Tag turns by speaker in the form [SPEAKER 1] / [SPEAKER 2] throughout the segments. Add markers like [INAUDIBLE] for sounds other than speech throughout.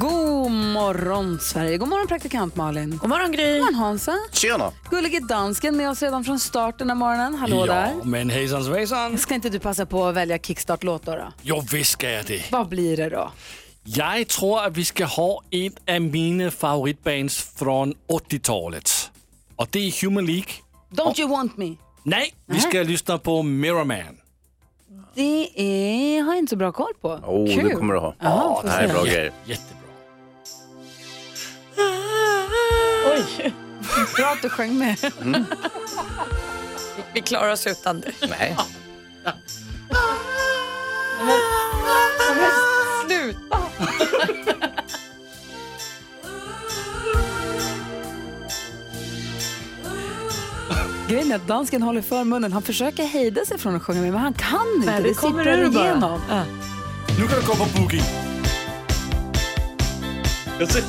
[SPEAKER 1] God morgon, Sverige. God morgon, praktikant Malin. God morgon, Gry. God morgon, Hansa.
[SPEAKER 2] Tjena!
[SPEAKER 1] Gullige dansken med oss redan från starten den här morgonen. Hallå där.
[SPEAKER 2] men hejsan svejsan.
[SPEAKER 1] Ska inte du passa på att välja kickstart-låt då, då?
[SPEAKER 2] Jo, visst ska jag det.
[SPEAKER 1] Vad blir det då?
[SPEAKER 2] Jag tror att vi ska ha ett av mina favoritbands från 80-talet. Och det är Human League.
[SPEAKER 1] Don't you want me?
[SPEAKER 2] Nej, vi ska lyssna på Mirror Man.
[SPEAKER 1] Det är... har jag inte så bra koll på.
[SPEAKER 3] Oh, det kommer du ha.
[SPEAKER 1] Ja,
[SPEAKER 3] det här är bra grejer.
[SPEAKER 2] Jättebra.
[SPEAKER 1] Oj! Bra att du sjöng med.
[SPEAKER 4] Vi klarar oss utan det.
[SPEAKER 3] Nej.
[SPEAKER 4] Sluta!
[SPEAKER 1] Grejen är att dansken håller för munnen. Han försöker hejda sig från att sjunga med, men han kan inte.
[SPEAKER 4] Nej,
[SPEAKER 1] det,
[SPEAKER 4] det kommer
[SPEAKER 1] sipprar
[SPEAKER 4] ur bara.
[SPEAKER 1] igenom.
[SPEAKER 2] Nu kan du komma på boogie. Jag ser.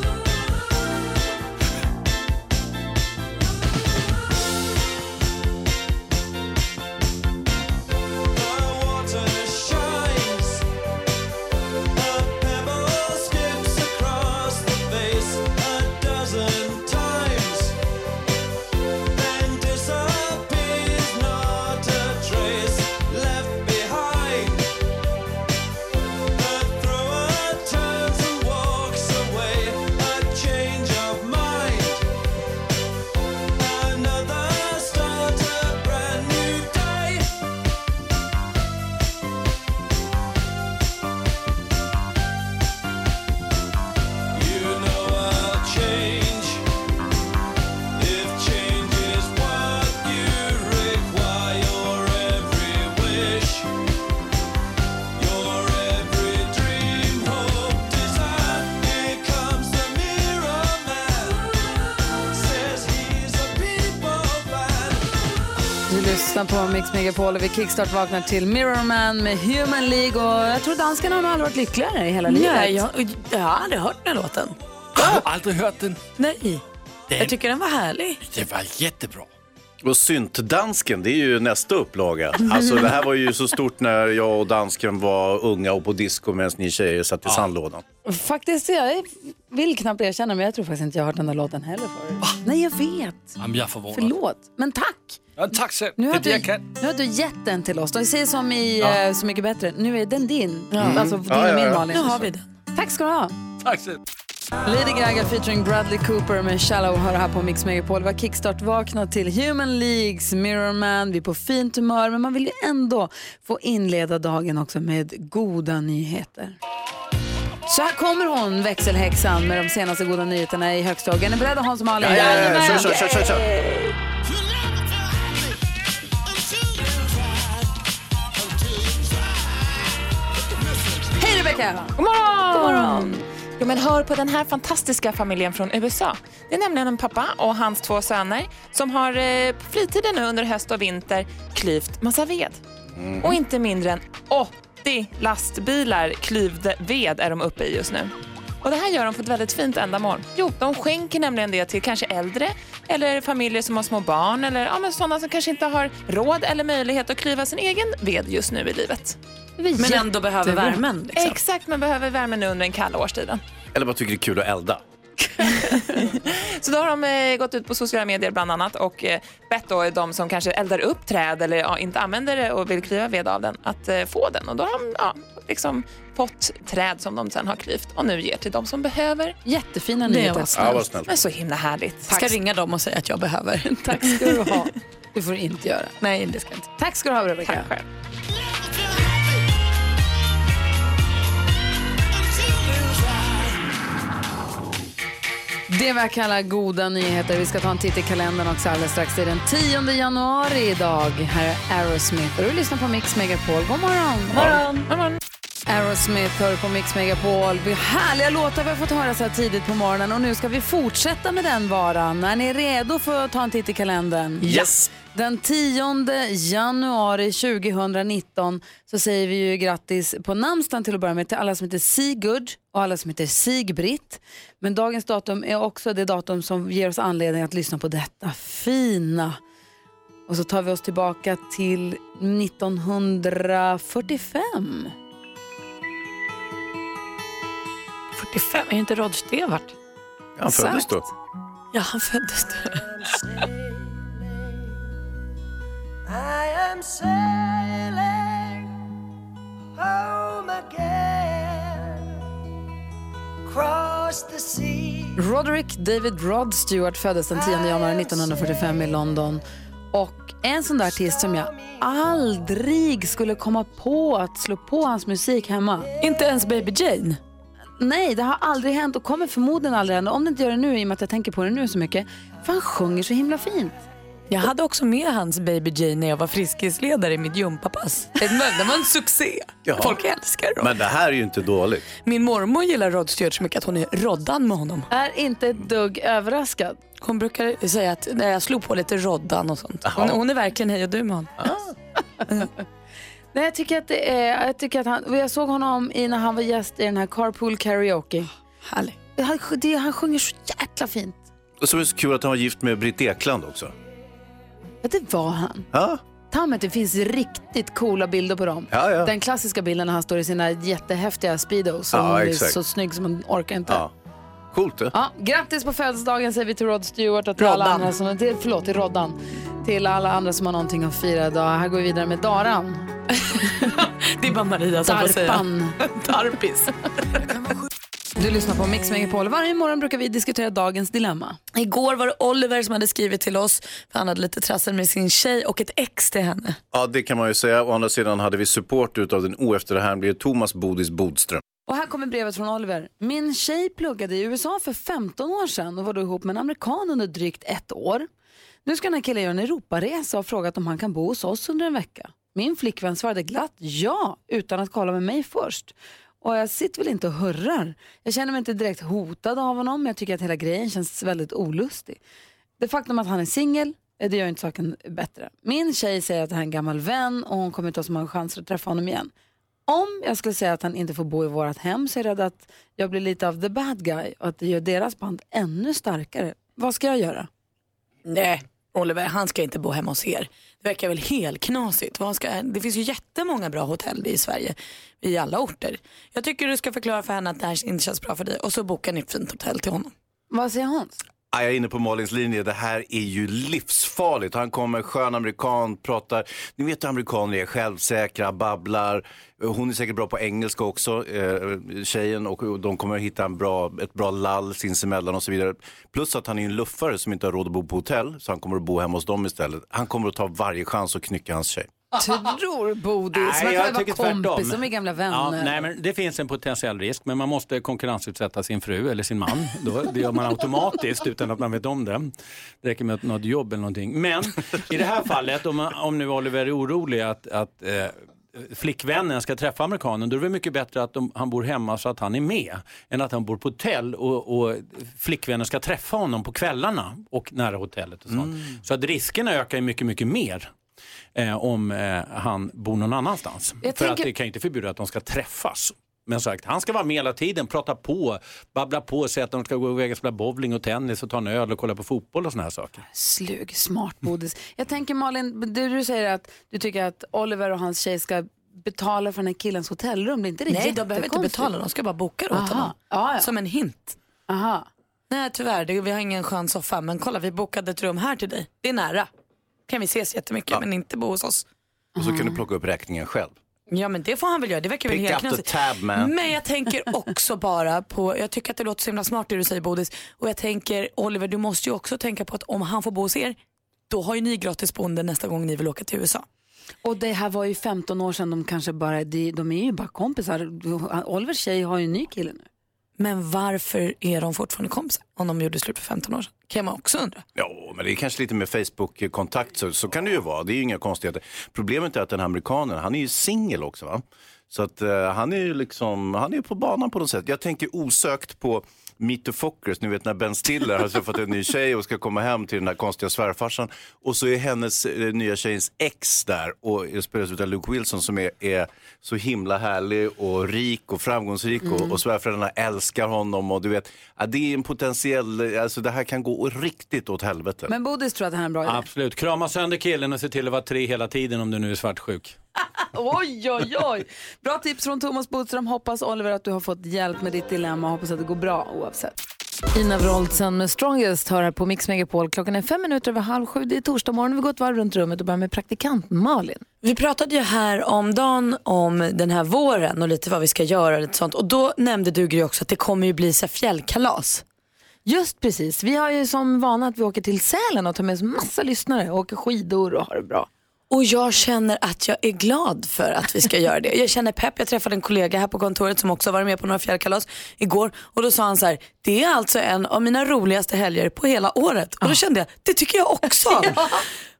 [SPEAKER 1] Du lyssnar på Mix Megapol och vi kickstart vaknar till Mirror Man med Human League och jag tror dansken har nog aldrig varit lyckligare i hela livet.
[SPEAKER 4] Nej, jag, jag har aldrig hört den här låten.
[SPEAKER 2] Har du aldrig hört den?
[SPEAKER 4] Nej.
[SPEAKER 2] Den,
[SPEAKER 4] Jag tycker den var härlig.
[SPEAKER 2] det var jättebra.
[SPEAKER 3] Och syntdansken, det är ju nästa upplaga. Alltså det här var ju så stort när jag och dansken var unga och på disco medan ni tjejer satt i sandlådan.
[SPEAKER 1] Faktiskt, jag vill knappt erkänna men jag tror faktiskt inte jag har hört den där låten heller förut. Nej, jag vet.
[SPEAKER 2] Jamen, jag är förvånad.
[SPEAKER 1] Förlåt. Men tack.
[SPEAKER 2] Ja, tack själv.
[SPEAKER 1] Nu
[SPEAKER 2] det
[SPEAKER 1] har,
[SPEAKER 2] är det
[SPEAKER 1] du,
[SPEAKER 2] jag kan.
[SPEAKER 1] nu har du gett den till oss. De säger som i eh, Så mycket bättre. Nu är den din. Alltså
[SPEAKER 3] Mm.
[SPEAKER 1] din
[SPEAKER 3] Ja,
[SPEAKER 1] och
[SPEAKER 3] ja,
[SPEAKER 1] min
[SPEAKER 3] ja.
[SPEAKER 1] Malin.
[SPEAKER 4] Nu har vi den.
[SPEAKER 1] Tack ska du ha.
[SPEAKER 2] Tack själv.
[SPEAKER 1] Lady Gaga featuring Bradley Cooper med Shallow hör här på Mix Megapol. Vi har kickstart-vaknat till Human Leagues, Mirror Man. Vi är på fint humör, men man vill ju ändå få inleda dagen också med goda nyheter. Så här kommer hon, växelhäxan, med de senaste goda nyheterna i högstågen. Är ni beredda, Hans och Malin? Jajamän!
[SPEAKER 3] Kör, kör, kör, kör, kör.
[SPEAKER 1] Hej Rebecca!
[SPEAKER 5] God morgon! Jo, men hör på den här fantastiska familjen från USA. Det är nämligen en pappa och hans två söner som har eh, på fritiden nu under höst och vinter klyvt massa ved. Och inte mindre än 80 lastbilar klyvd ved är de uppe i just nu. Och Det här gör de för ett väldigt fint ändamål. Jo, de skänker nämligen det till kanske äldre eller familjer som har små barn eller ja, men sådana som kanske inte har råd eller möjlighet att klyva sin egen ved just nu i livet.
[SPEAKER 4] Men ändå behöver värmen. Liksom.
[SPEAKER 5] Exakt, man behöver värmen nu under den kalla årstiden.
[SPEAKER 3] Eller bara tycker det är kul att elda.
[SPEAKER 5] Så då har de eh, gått ut på sociala medier bland annat och eh, bett då de som kanske eldar upp träd eller ja, inte använder det och vill klyva ved av den att eh, få den. Och då har de ja, liksom fått träd som de sen har klyvt och nu ger till de som behöver.
[SPEAKER 1] Jättefina
[SPEAKER 4] Det
[SPEAKER 1] nyheter.
[SPEAKER 4] var
[SPEAKER 3] Ja, vad snällt.
[SPEAKER 5] Men så himla härligt.
[SPEAKER 4] Jag ska ringa dem och säga att jag behöver.
[SPEAKER 1] Tack ska du ha. Det får du inte göra.
[SPEAKER 4] Nej, det ska jag inte.
[SPEAKER 1] Tack ska du ha, Rebecca.
[SPEAKER 5] Tack själv.
[SPEAKER 1] Det vi kallar goda nyheter. Vi ska ta en titt i kalendern också alldeles strax. Det är den 10 januari idag. Här är Aerosmith och du lyssnar på Mix Megapol. God morgon!
[SPEAKER 5] Ja, men-
[SPEAKER 1] Aerosmith hör på Mix Megapol. Vi härliga låtar vi har fått höra så här tidigt på morgonen och nu ska vi fortsätta med den varan. Är ni redo för att ta en titt i kalendern?
[SPEAKER 3] Yes!
[SPEAKER 1] Den 10 januari 2019 så säger vi ju grattis på namnsdagen till att börja med till alla som heter Sigurd och alla som heter Sigbritt. Men dagens datum är också det datum som ger oss anledning att lyssna på detta fina. Och så tar vi oss tillbaka till 1945.
[SPEAKER 4] 45, är inte Rod Stewart?
[SPEAKER 3] Han föddes då.
[SPEAKER 4] Ja, han föddes då.
[SPEAKER 1] Roderick David Rod Stewart föddes den 10 januari 1945 i London. Och en sån där artist som jag aldrig skulle komma på att slå på hans musik hemma.
[SPEAKER 4] Inte ens Baby Jane.
[SPEAKER 1] Nej, det har aldrig hänt och kommer förmodligen aldrig hända. Om det inte gör det nu, i och med att jag tänker på det nu så mycket. För han sjunger så himla fint.
[SPEAKER 4] Jag hade också med hans Baby Jane när jag var friskisledare i mitt
[SPEAKER 1] [LAUGHS]
[SPEAKER 4] gympapass. Det var det var en succé.
[SPEAKER 3] Jaha.
[SPEAKER 4] Folk älskar Rod.
[SPEAKER 3] Men det här är ju inte dåligt.
[SPEAKER 4] Min mormor gillar Rod Stewart så mycket att hon är Roddan med honom.
[SPEAKER 1] Är inte ett dugg överraskad.
[SPEAKER 4] Hon brukar säga att när jag slog på lite Roddan och sånt. Hon, hon är verkligen hej och du med honom.
[SPEAKER 1] Nej, jag tycker att, det är, jag, tycker att han, och jag såg honom i, när han var gäst i den här Carpool Karaoke.
[SPEAKER 4] Härlig.
[SPEAKER 1] Han, det, han sjunger så jäkla fint.
[SPEAKER 3] Och så är det så kul att han var gift med Britt Ekland också.
[SPEAKER 1] Ja, det var han.
[SPEAKER 3] Ja,
[SPEAKER 1] Ta mig att det finns riktigt coola bilder på dem.
[SPEAKER 3] ja. ja.
[SPEAKER 1] Den klassiska bilden när han står i sina jättehäftiga speedos. Som
[SPEAKER 3] Ja,
[SPEAKER 1] är
[SPEAKER 3] exakt.
[SPEAKER 1] så snygg som man orkar inte. Ja.
[SPEAKER 3] ja. Coolt det.
[SPEAKER 1] grattis på födelsedagen säger vi till Rod Stewart och till alla
[SPEAKER 4] Roddan.
[SPEAKER 1] andra som, till, förlåt, till Roddan. Till alla andra som har någonting att fira idag. Här går vi vidare med Daran.
[SPEAKER 4] [LAUGHS] Det är bara Maria som får säga. [LAUGHS]
[SPEAKER 1] Darpan.
[SPEAKER 4] Tarpis.
[SPEAKER 1] Du lyssnar på Mix Megapol. Varje morgon brukar vi diskutera dagens dilemma.
[SPEAKER 4] Igår var det Oliver som hade skrivit till oss för han hade lite trassel med sin tjej och ett ex till henne.
[SPEAKER 3] Ja, det kan man ju säga. Å andra sidan hade vi support utav den oefterhärmlige Thomas Bodis Bodström.
[SPEAKER 1] Och här kommer brevet från Oliver. Min tjej pluggade i USA för 15 år sedan och var då ihop med en amerikan under drygt ett år. Nu ska den här killen göra en Europaresa och frågat om han kan bo hos oss under en vecka. Min flickvän svarade glatt ja utan att kolla med mig först. Och jag sitter väl inte och hurrar. Jag känner mig inte direkt hotad av honom men jag tycker att hela grejen känns väldigt olustig. Det faktum att han är singel, eh, det gör inte saken bättre. Min tjej säger att han är en gammal vän och hon kommer inte ha så många chanser att träffa honom igen. Om jag skulle säga att han inte får bo i vårt hem så är jag rädd att jag blir lite av the bad guy och att det gör deras band ännu starkare. Vad ska jag göra?
[SPEAKER 4] Nej, Oliver han ska inte bo hemma hos er. Det verkar väl helt knasigt. Vad ska, det finns ju jättemånga bra hotell i Sverige, i alla orter. Jag tycker du ska förklara för henne att det här inte känns bra för dig och så bokar ni ett fint hotell till honom.
[SPEAKER 1] Vad säger Hans?
[SPEAKER 3] Ja, Ah, jag är inne på Malins linje. Det här är ju livsfarligt. Han kommer, skön amerikan, pratar. Ni vet hur amerikaner är, självsäkra, babblar. Hon är säkert bra på engelska också, eh, tjejen. Och de kommer hitta en bra, ett bra lall sinsemellan och så vidare. Plus att han är en luffare som inte har råd att bo på hotell. Så han kommer att bo hemma hos dem istället. Han kommer att ta varje chans och knycka hans tjej.
[SPEAKER 1] Tror Bodis.
[SPEAKER 6] Nej, jag
[SPEAKER 1] Man kan ju
[SPEAKER 6] tycker
[SPEAKER 1] vara
[SPEAKER 6] tvärtom.
[SPEAKER 1] kompis, de är gamla
[SPEAKER 6] Ja,
[SPEAKER 1] vänner.
[SPEAKER 6] nej, men det finns en potentiell risk, men man måste konkurrensutsätta sin fru eller sin man. Då, det gör man automatiskt utan att man vet om det. Det räcker med något jobb eller någonting. Men i det här fallet, om, om nu Oliver är orolig att, att eh, flickvännen ska träffa amerikanen, då är det väl mycket bättre att de, han bor hemma så att han är med, än att han bor på hotell och, och flickvännen ska träffa honom på kvällarna och nära hotellet och sånt.
[SPEAKER 1] Mm.
[SPEAKER 6] Så att riskerna ökar ju mycket, mycket mer. Eh, om eh, han bor någon annanstans.
[SPEAKER 1] Jag
[SPEAKER 6] För
[SPEAKER 1] tänker-
[SPEAKER 6] att det kan ju inte förbjuda att de ska träffas. Men som sagt, han ska vara med hela tiden, prata på, babbla på, säga att de ska gå iväg och spela bowling och tennis och ta en öl och kolla på fotboll och såna här saker.
[SPEAKER 1] Slug, smart Bodis. Jag tänker Malin, det du säger att du tycker att Oliver och hans tjej ska betala för den här killens hotellrum, blir inte det
[SPEAKER 4] Nej, de behöver inte
[SPEAKER 1] jättekonstigt?
[SPEAKER 4] betala, de ska bara boka det åt
[SPEAKER 1] Aha.
[SPEAKER 4] honom.
[SPEAKER 1] Ja, ja.
[SPEAKER 4] Som en hint.
[SPEAKER 1] Aha.
[SPEAKER 4] Nej tyvärr, det, vi har ingen skön soffa, men kolla vi bokade ett rum här till dig. Det är nära. Kan vi ses jättemycket men inte bo hos oss.
[SPEAKER 3] Och så kan du plocka upp räkningen själv.
[SPEAKER 4] Ja men det får han väl göra, det verkar väl
[SPEAKER 3] Pick
[SPEAKER 4] helt
[SPEAKER 3] up the
[SPEAKER 4] knasigt.
[SPEAKER 3] tab, man.
[SPEAKER 4] Men jag
[SPEAKER 3] [LAUGHS]
[SPEAKER 4] tänker också bara på, jag tycker att det låter så himla smart det du säger Bodis. Och jag tänker Oliver du måste ju också tänka på att om han får bo hos er, då har ju ni gratis boende nästa gång ni vill åka till USA.
[SPEAKER 1] Och det här var ju 15 år sedan, de kanske bara, de, de är ju bara kompisar. Olivers tjej har ju en ny kille nu.
[SPEAKER 4] Men varför är de fortfarande kompisar om de gjorde slut för 15 år sedan? Kan man också undra.
[SPEAKER 3] Ja, men det är kanske lite mer Facebook-kontakt, så, så kan det ju vara. Det är ju inga konstigheter. Problemet är att den här amerikanen, han är ju singel också. va? Så att eh, han är ju liksom, han är ju på banan på något sätt. Jag tänker osökt på Meet the Fockers, ni vet när Ben Stiller har träffat en ny tjej och ska komma hem till den där konstiga svärfarsan. Och så är hennes eh, nya tjejens ex där och spelas av Luke Wilson som är, är så himla härlig och rik och framgångsrik och, och svärföräldrarna älskar honom och du vet, ja, det är en potentiell, alltså det här kan gå riktigt åt helvete.
[SPEAKER 1] Men Bodis tror att det här är en bra idé.
[SPEAKER 6] Absolut. Krama sönder killen och se till att vara tre hela tiden om du nu är svartsjuk.
[SPEAKER 1] Oj, oj, oj. Bra tips från Thomas Bodström. Hoppas Oliver att du har fått hjälp med ditt dilemma. Hoppas att det går bra oavsett. Ina Wroldsen med Strongest hör här på Mix Megapol. Klockan är fem minuter över halv sju. Det är torsdag morgon. Vi går ett varv runt rummet och börjar med praktikant Malin.
[SPEAKER 4] Vi pratade ju här om dagen om den här våren och lite vad vi ska göra och lite sånt. Och då nämnde du Gry också att det kommer ju bli så här fjällkalas.
[SPEAKER 1] Just precis. Vi har ju som vana att vi åker till Sälen och tar med oss massa lyssnare och åker skidor och har det bra.
[SPEAKER 4] Och jag känner att jag är glad för att vi ska göra det. Jag känner pepp. Jag träffade en kollega här på kontoret som också varit med på några fjällkalas igår och då sa han så här, det är alltså en av mina roligaste helger på hela året.
[SPEAKER 1] Ah.
[SPEAKER 4] Och då kände jag, det tycker jag
[SPEAKER 1] [LAUGHS]
[SPEAKER 4] också.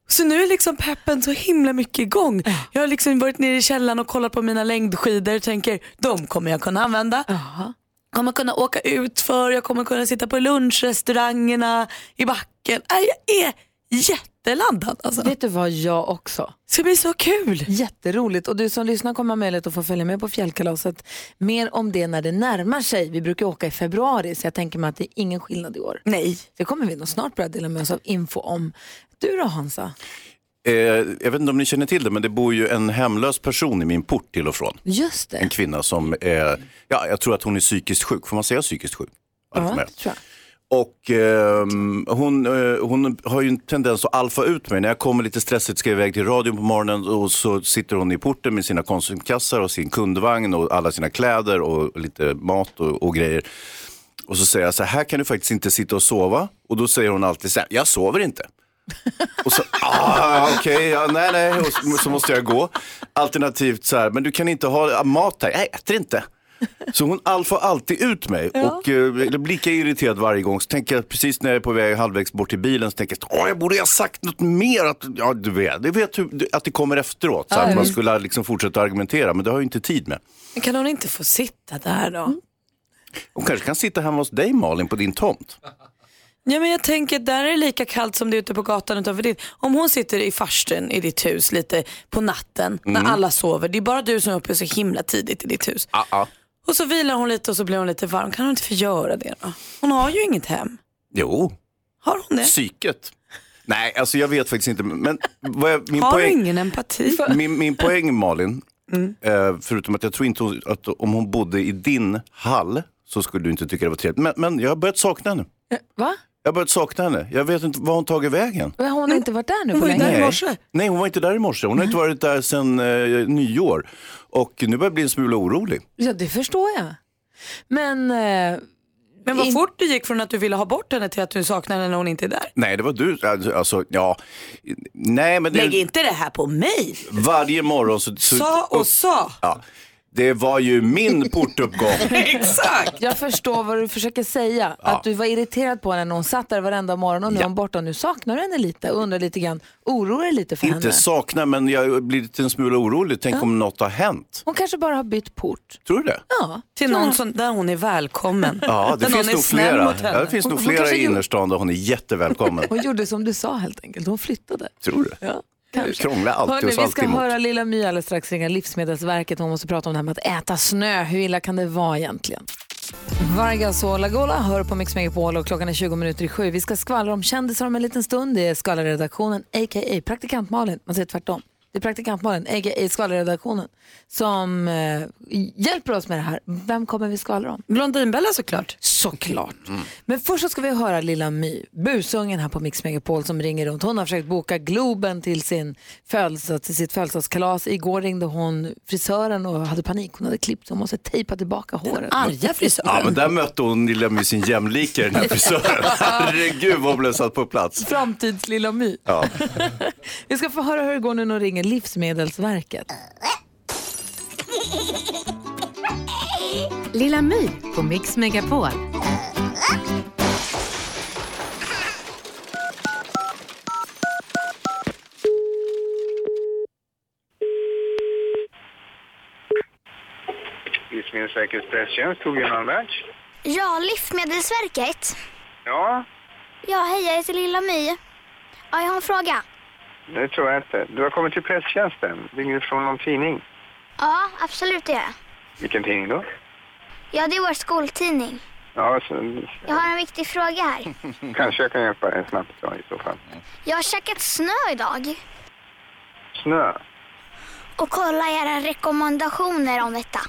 [SPEAKER 4] Så nu är liksom peppen så himla mycket igång.
[SPEAKER 1] Ah.
[SPEAKER 4] Jag har liksom varit nere i källaren och kollat på mina längdskidor och tänker, de kommer jag kunna använda.
[SPEAKER 1] Ah.
[SPEAKER 4] Jag kommer kunna åka ut för, jag kommer kunna sitta på lunchrestaurangerna i backen. Nej, Jag är jätteladdad alltså.
[SPEAKER 1] Vet du vad, jag också.
[SPEAKER 4] Det ska bli så kul.
[SPEAKER 1] Jätteroligt. Och du som lyssnar kommer ha möjlighet att få följa med på fjällkalaset. Mer om det när det närmar sig. Vi brukar åka i februari så jag tänker mig att det är ingen skillnad i år.
[SPEAKER 4] Nej.
[SPEAKER 1] Det kommer vi nog snart börja dela med oss av info om. Du då Hansa?
[SPEAKER 3] Eh, jag vet inte om ni känner till det, men det bor ju en hemlös person i min port till och från.
[SPEAKER 1] Just
[SPEAKER 3] En
[SPEAKER 1] det.
[SPEAKER 3] kvinna som, eh, ja, jag tror att hon är psykiskt sjuk. Får man säga psykiskt sjuk? Ja, det får man
[SPEAKER 1] Ja,
[SPEAKER 3] göra.
[SPEAKER 1] tror jag.
[SPEAKER 3] Och ehm, hon, eh, hon har ju en tendens att alfa ut mig. När jag kommer lite stressigt ska jag iväg till radion på morgonen och så sitter hon i porten med sina konsumkassar och sin kundvagn och alla sina kläder och lite mat och, och grejer. Och så säger jag så här, här kan du faktiskt inte sitta och sova. Och då säger hon alltid så här, jag sover inte. Och så, [LAUGHS] ah, okej, ja, nej, nej, och så, så måste jag gå. Alternativt så här, men du kan inte ha ah, mat här, jag äter inte. Så hon all- får alltid ut mig och eh, jag blir lika irriterad varje gång. Så tänker jag precis när jag är på väg halvvägs bort till bilen så tänker jag, åh jag borde ha sagt något mer. Att, ja, du vet, du vet hur, att det kommer efteråt. Så att man skulle liksom fortsätta argumentera, men det har jag ju inte tid med.
[SPEAKER 4] Men kan hon inte få sitta där då?
[SPEAKER 3] Hon kanske kan sitta hemma hos dig Malin på din tomt.
[SPEAKER 4] Ja, men jag tänker där är det lika kallt som det är ute på gatan utanför ditt. Om hon sitter i farstun i ditt hus lite på natten
[SPEAKER 3] Mm.
[SPEAKER 4] när alla sover. Det är bara du som är uppe så himla tidigt i ditt hus.
[SPEAKER 3] Ah, ah.
[SPEAKER 4] Och så vilar hon lite och så blir hon lite varm. Kan hon inte få göra det då? Hon har ju inget hem.
[SPEAKER 3] Jo,
[SPEAKER 4] Har hon det?
[SPEAKER 3] psyket. Nej, alltså jag vet faktiskt inte. Men vad jag, min
[SPEAKER 4] Har
[SPEAKER 3] poäng...
[SPEAKER 4] hon ingen empati?
[SPEAKER 3] min, min poäng Malin, eh, förutom att jag tror inte hon- att om hon bodde i din hall så skulle du inte tycka det var trevligt. Men, men jag har börjat sakna henne.
[SPEAKER 4] Eh,
[SPEAKER 1] Va?
[SPEAKER 3] Jag har börjat sakna henne. Jag vet inte, var hon tagit vägen?
[SPEAKER 1] Men Hon har inte varit där nu på
[SPEAKER 4] Mm. var ju
[SPEAKER 1] länge.
[SPEAKER 4] där i
[SPEAKER 3] [LAUGHS]
[SPEAKER 4] morse.
[SPEAKER 3] Nej, hon var inte där i morse. Hon har inte varit där sedan eh, nyår. Och nu börjar jag bli en smula orolig.
[SPEAKER 1] Ja, det förstår jag. Men eh,
[SPEAKER 4] Men vad
[SPEAKER 1] In-
[SPEAKER 4] fort det gick från att du ville ha bort henne till att du saknar henne när hon inte är där.
[SPEAKER 3] Nej, det var du. Alltså, ja. Nej, men
[SPEAKER 4] Lägg
[SPEAKER 3] det,
[SPEAKER 4] inte det här på mig.
[SPEAKER 3] varje morgon så... så
[SPEAKER 4] Sa och sa.
[SPEAKER 3] ja. Det var ju
[SPEAKER 4] [LAUGHS]
[SPEAKER 3] min portuppgång.
[SPEAKER 4] Exakt.
[SPEAKER 1] jag förstår vad du försöker säga. Att du var irriterad på henne när hon satt där varenda morgon och nu är hon borta. Nu saknar du henne lite och undrar lite grann. Oroar dig lite för
[SPEAKER 3] Inte
[SPEAKER 1] henne.
[SPEAKER 3] sakna, men jag blir lite en smula orolig. Tänk om något har hänt.
[SPEAKER 1] Hon kanske bara har bytt port.
[SPEAKER 3] Tror du det?
[SPEAKER 1] Ja.
[SPEAKER 4] Till någon som, där hon är välkommen.
[SPEAKER 3] Ja, det
[SPEAKER 4] där någon
[SPEAKER 3] finns
[SPEAKER 4] är
[SPEAKER 3] nog
[SPEAKER 4] snäll
[SPEAKER 3] flera.
[SPEAKER 4] mot henne.
[SPEAKER 3] Ja, det finns
[SPEAKER 1] Hon-
[SPEAKER 3] nog
[SPEAKER 1] hon
[SPEAKER 3] flera
[SPEAKER 1] kanske
[SPEAKER 3] i
[SPEAKER 1] gjorde-
[SPEAKER 3] innerstan där hon är jättevälkommen.
[SPEAKER 1] Hon gjorde som du sa helt enkelt. Hon flyttade.
[SPEAKER 3] Tror du?
[SPEAKER 1] Ja,
[SPEAKER 3] Det krånglar alltid
[SPEAKER 1] Hörrni,
[SPEAKER 3] oss
[SPEAKER 1] vi ska
[SPEAKER 3] alltid emot.
[SPEAKER 1] höra Lilla My alldeles strax ringa Livsmedelsverket. Hon måste prata om det här med att äta snö. Hur illa kan det vara egentligen? Vargas och Lagola hör på Mix Megapol och klockan är 20 minuter i sju. Vi ska skvallra om kändisar om en liten stund. Det är skvallerredaktionen, a.k.a. praktikant Malin. Man säger tvärtom. Det är praktikant Malin, a.k.a. skvallerredaktionen, som eh, hjälper oss med det här. Vem kommer vi skvallra om?
[SPEAKER 4] Blondinbella såklart.
[SPEAKER 1] Såklart.
[SPEAKER 7] Mm.
[SPEAKER 1] Men först så ska vi höra lilla My, busungen här på Mix Megapol som ringer runt. Hon har försökt boka Globen till, sin födelsedag, till sitt födelsedagskalas. Igår ringde hon frisören och hade panik. Hon hade klippt sig, hon måste tejpa tillbaka håret.
[SPEAKER 4] Arga
[SPEAKER 3] Ja,
[SPEAKER 4] frisören.
[SPEAKER 3] men där mötte hon lilla My sin jämlike, den
[SPEAKER 1] [LAUGHS]
[SPEAKER 3] här frisören. Herregud vad hon blev satt på plats.
[SPEAKER 1] Framtids lilla My.
[SPEAKER 3] Ja.
[SPEAKER 1] Vi ska få höra hur det går nu när hon ringer Livsmedelsverket.
[SPEAKER 7] Lilla My på Mix Megapol.
[SPEAKER 8] min säkerhetspresstjänst. Tog in någon match?
[SPEAKER 9] Ja, Livsmedelsverket.
[SPEAKER 8] Ja,
[SPEAKER 9] Ja, hej, jag heter Lilla My. Ja, jag har en fråga.
[SPEAKER 8] det tror jag inte. Du har kommit till presstjänsten. Ringer du från någon tidning?
[SPEAKER 9] Ja, absolut det gör jag.
[SPEAKER 8] Vilken tidning då?
[SPEAKER 9] Ja, det är vår skoltidning.
[SPEAKER 8] Ja, [LAUGHS] så,
[SPEAKER 9] Jag har en viktig fråga här.
[SPEAKER 8] kanske jag kan hjälpa dig snabbt då, i så fall.
[SPEAKER 9] Jag har käkat snö idag
[SPEAKER 8] Snö?
[SPEAKER 9] och kolla era rekommendationer om detta.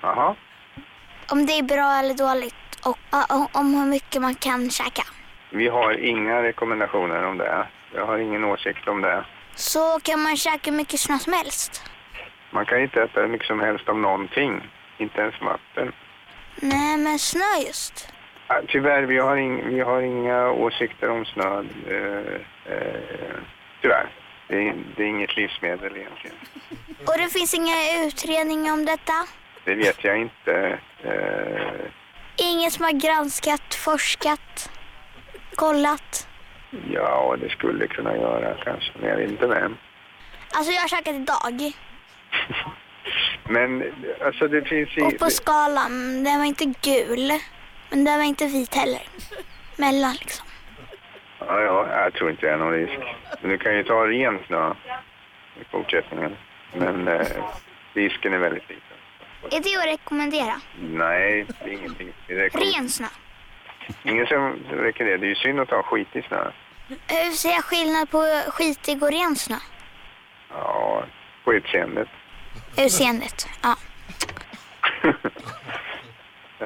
[SPEAKER 8] Jaha.
[SPEAKER 9] Om det är bra eller dåligt och ja, och om hur mycket man kan käka.
[SPEAKER 8] Vi har inga rekommendationer om det. Jag har ingen åsikt om det.
[SPEAKER 9] Så kan man käka hur mycket snö som helst.
[SPEAKER 8] Man kan inte äta hur mycket som helst om någonting. Inte ens vatten.
[SPEAKER 9] Nej, men snö just.
[SPEAKER 8] Ja, Tyvärr, vi har, ing, vi har inga åsikter om snö. Eh, eh, tyvärr. Det är, det är inget livsmedel egentligen.
[SPEAKER 9] Och det finns inga utredningar om detta.
[SPEAKER 8] Det vet jag inte. Eh,
[SPEAKER 9] Ingen som har granskat, forskat, kollat.
[SPEAKER 8] ja, det skulle kunna göra kanske, men jag vet inte vem.
[SPEAKER 9] Alltså jag har käkat idag.
[SPEAKER 8] Men alltså det finns
[SPEAKER 9] Och
[SPEAKER 8] i,
[SPEAKER 9] på skalan, den var inte gul. Men den var inte vit heller. Mellan liksom.
[SPEAKER 8] ja, ja, jag tror inte det är någon risk. Men du kan ju ta ren snö i fortsättningen. Men eh, risken är väldigt liten.
[SPEAKER 9] Är det att rekommendera?
[SPEAKER 8] Nej, det är ingenting. Det räcker-
[SPEAKER 9] Ren snö.
[SPEAKER 8] Ingen som räcker det. Det är ju synd att ha skit i snö.
[SPEAKER 9] Hur ser jag skillnad på skitig och ren snö?
[SPEAKER 8] Ja, på utseendet. [LAUGHS]
[SPEAKER 9] Utseendet. Ja.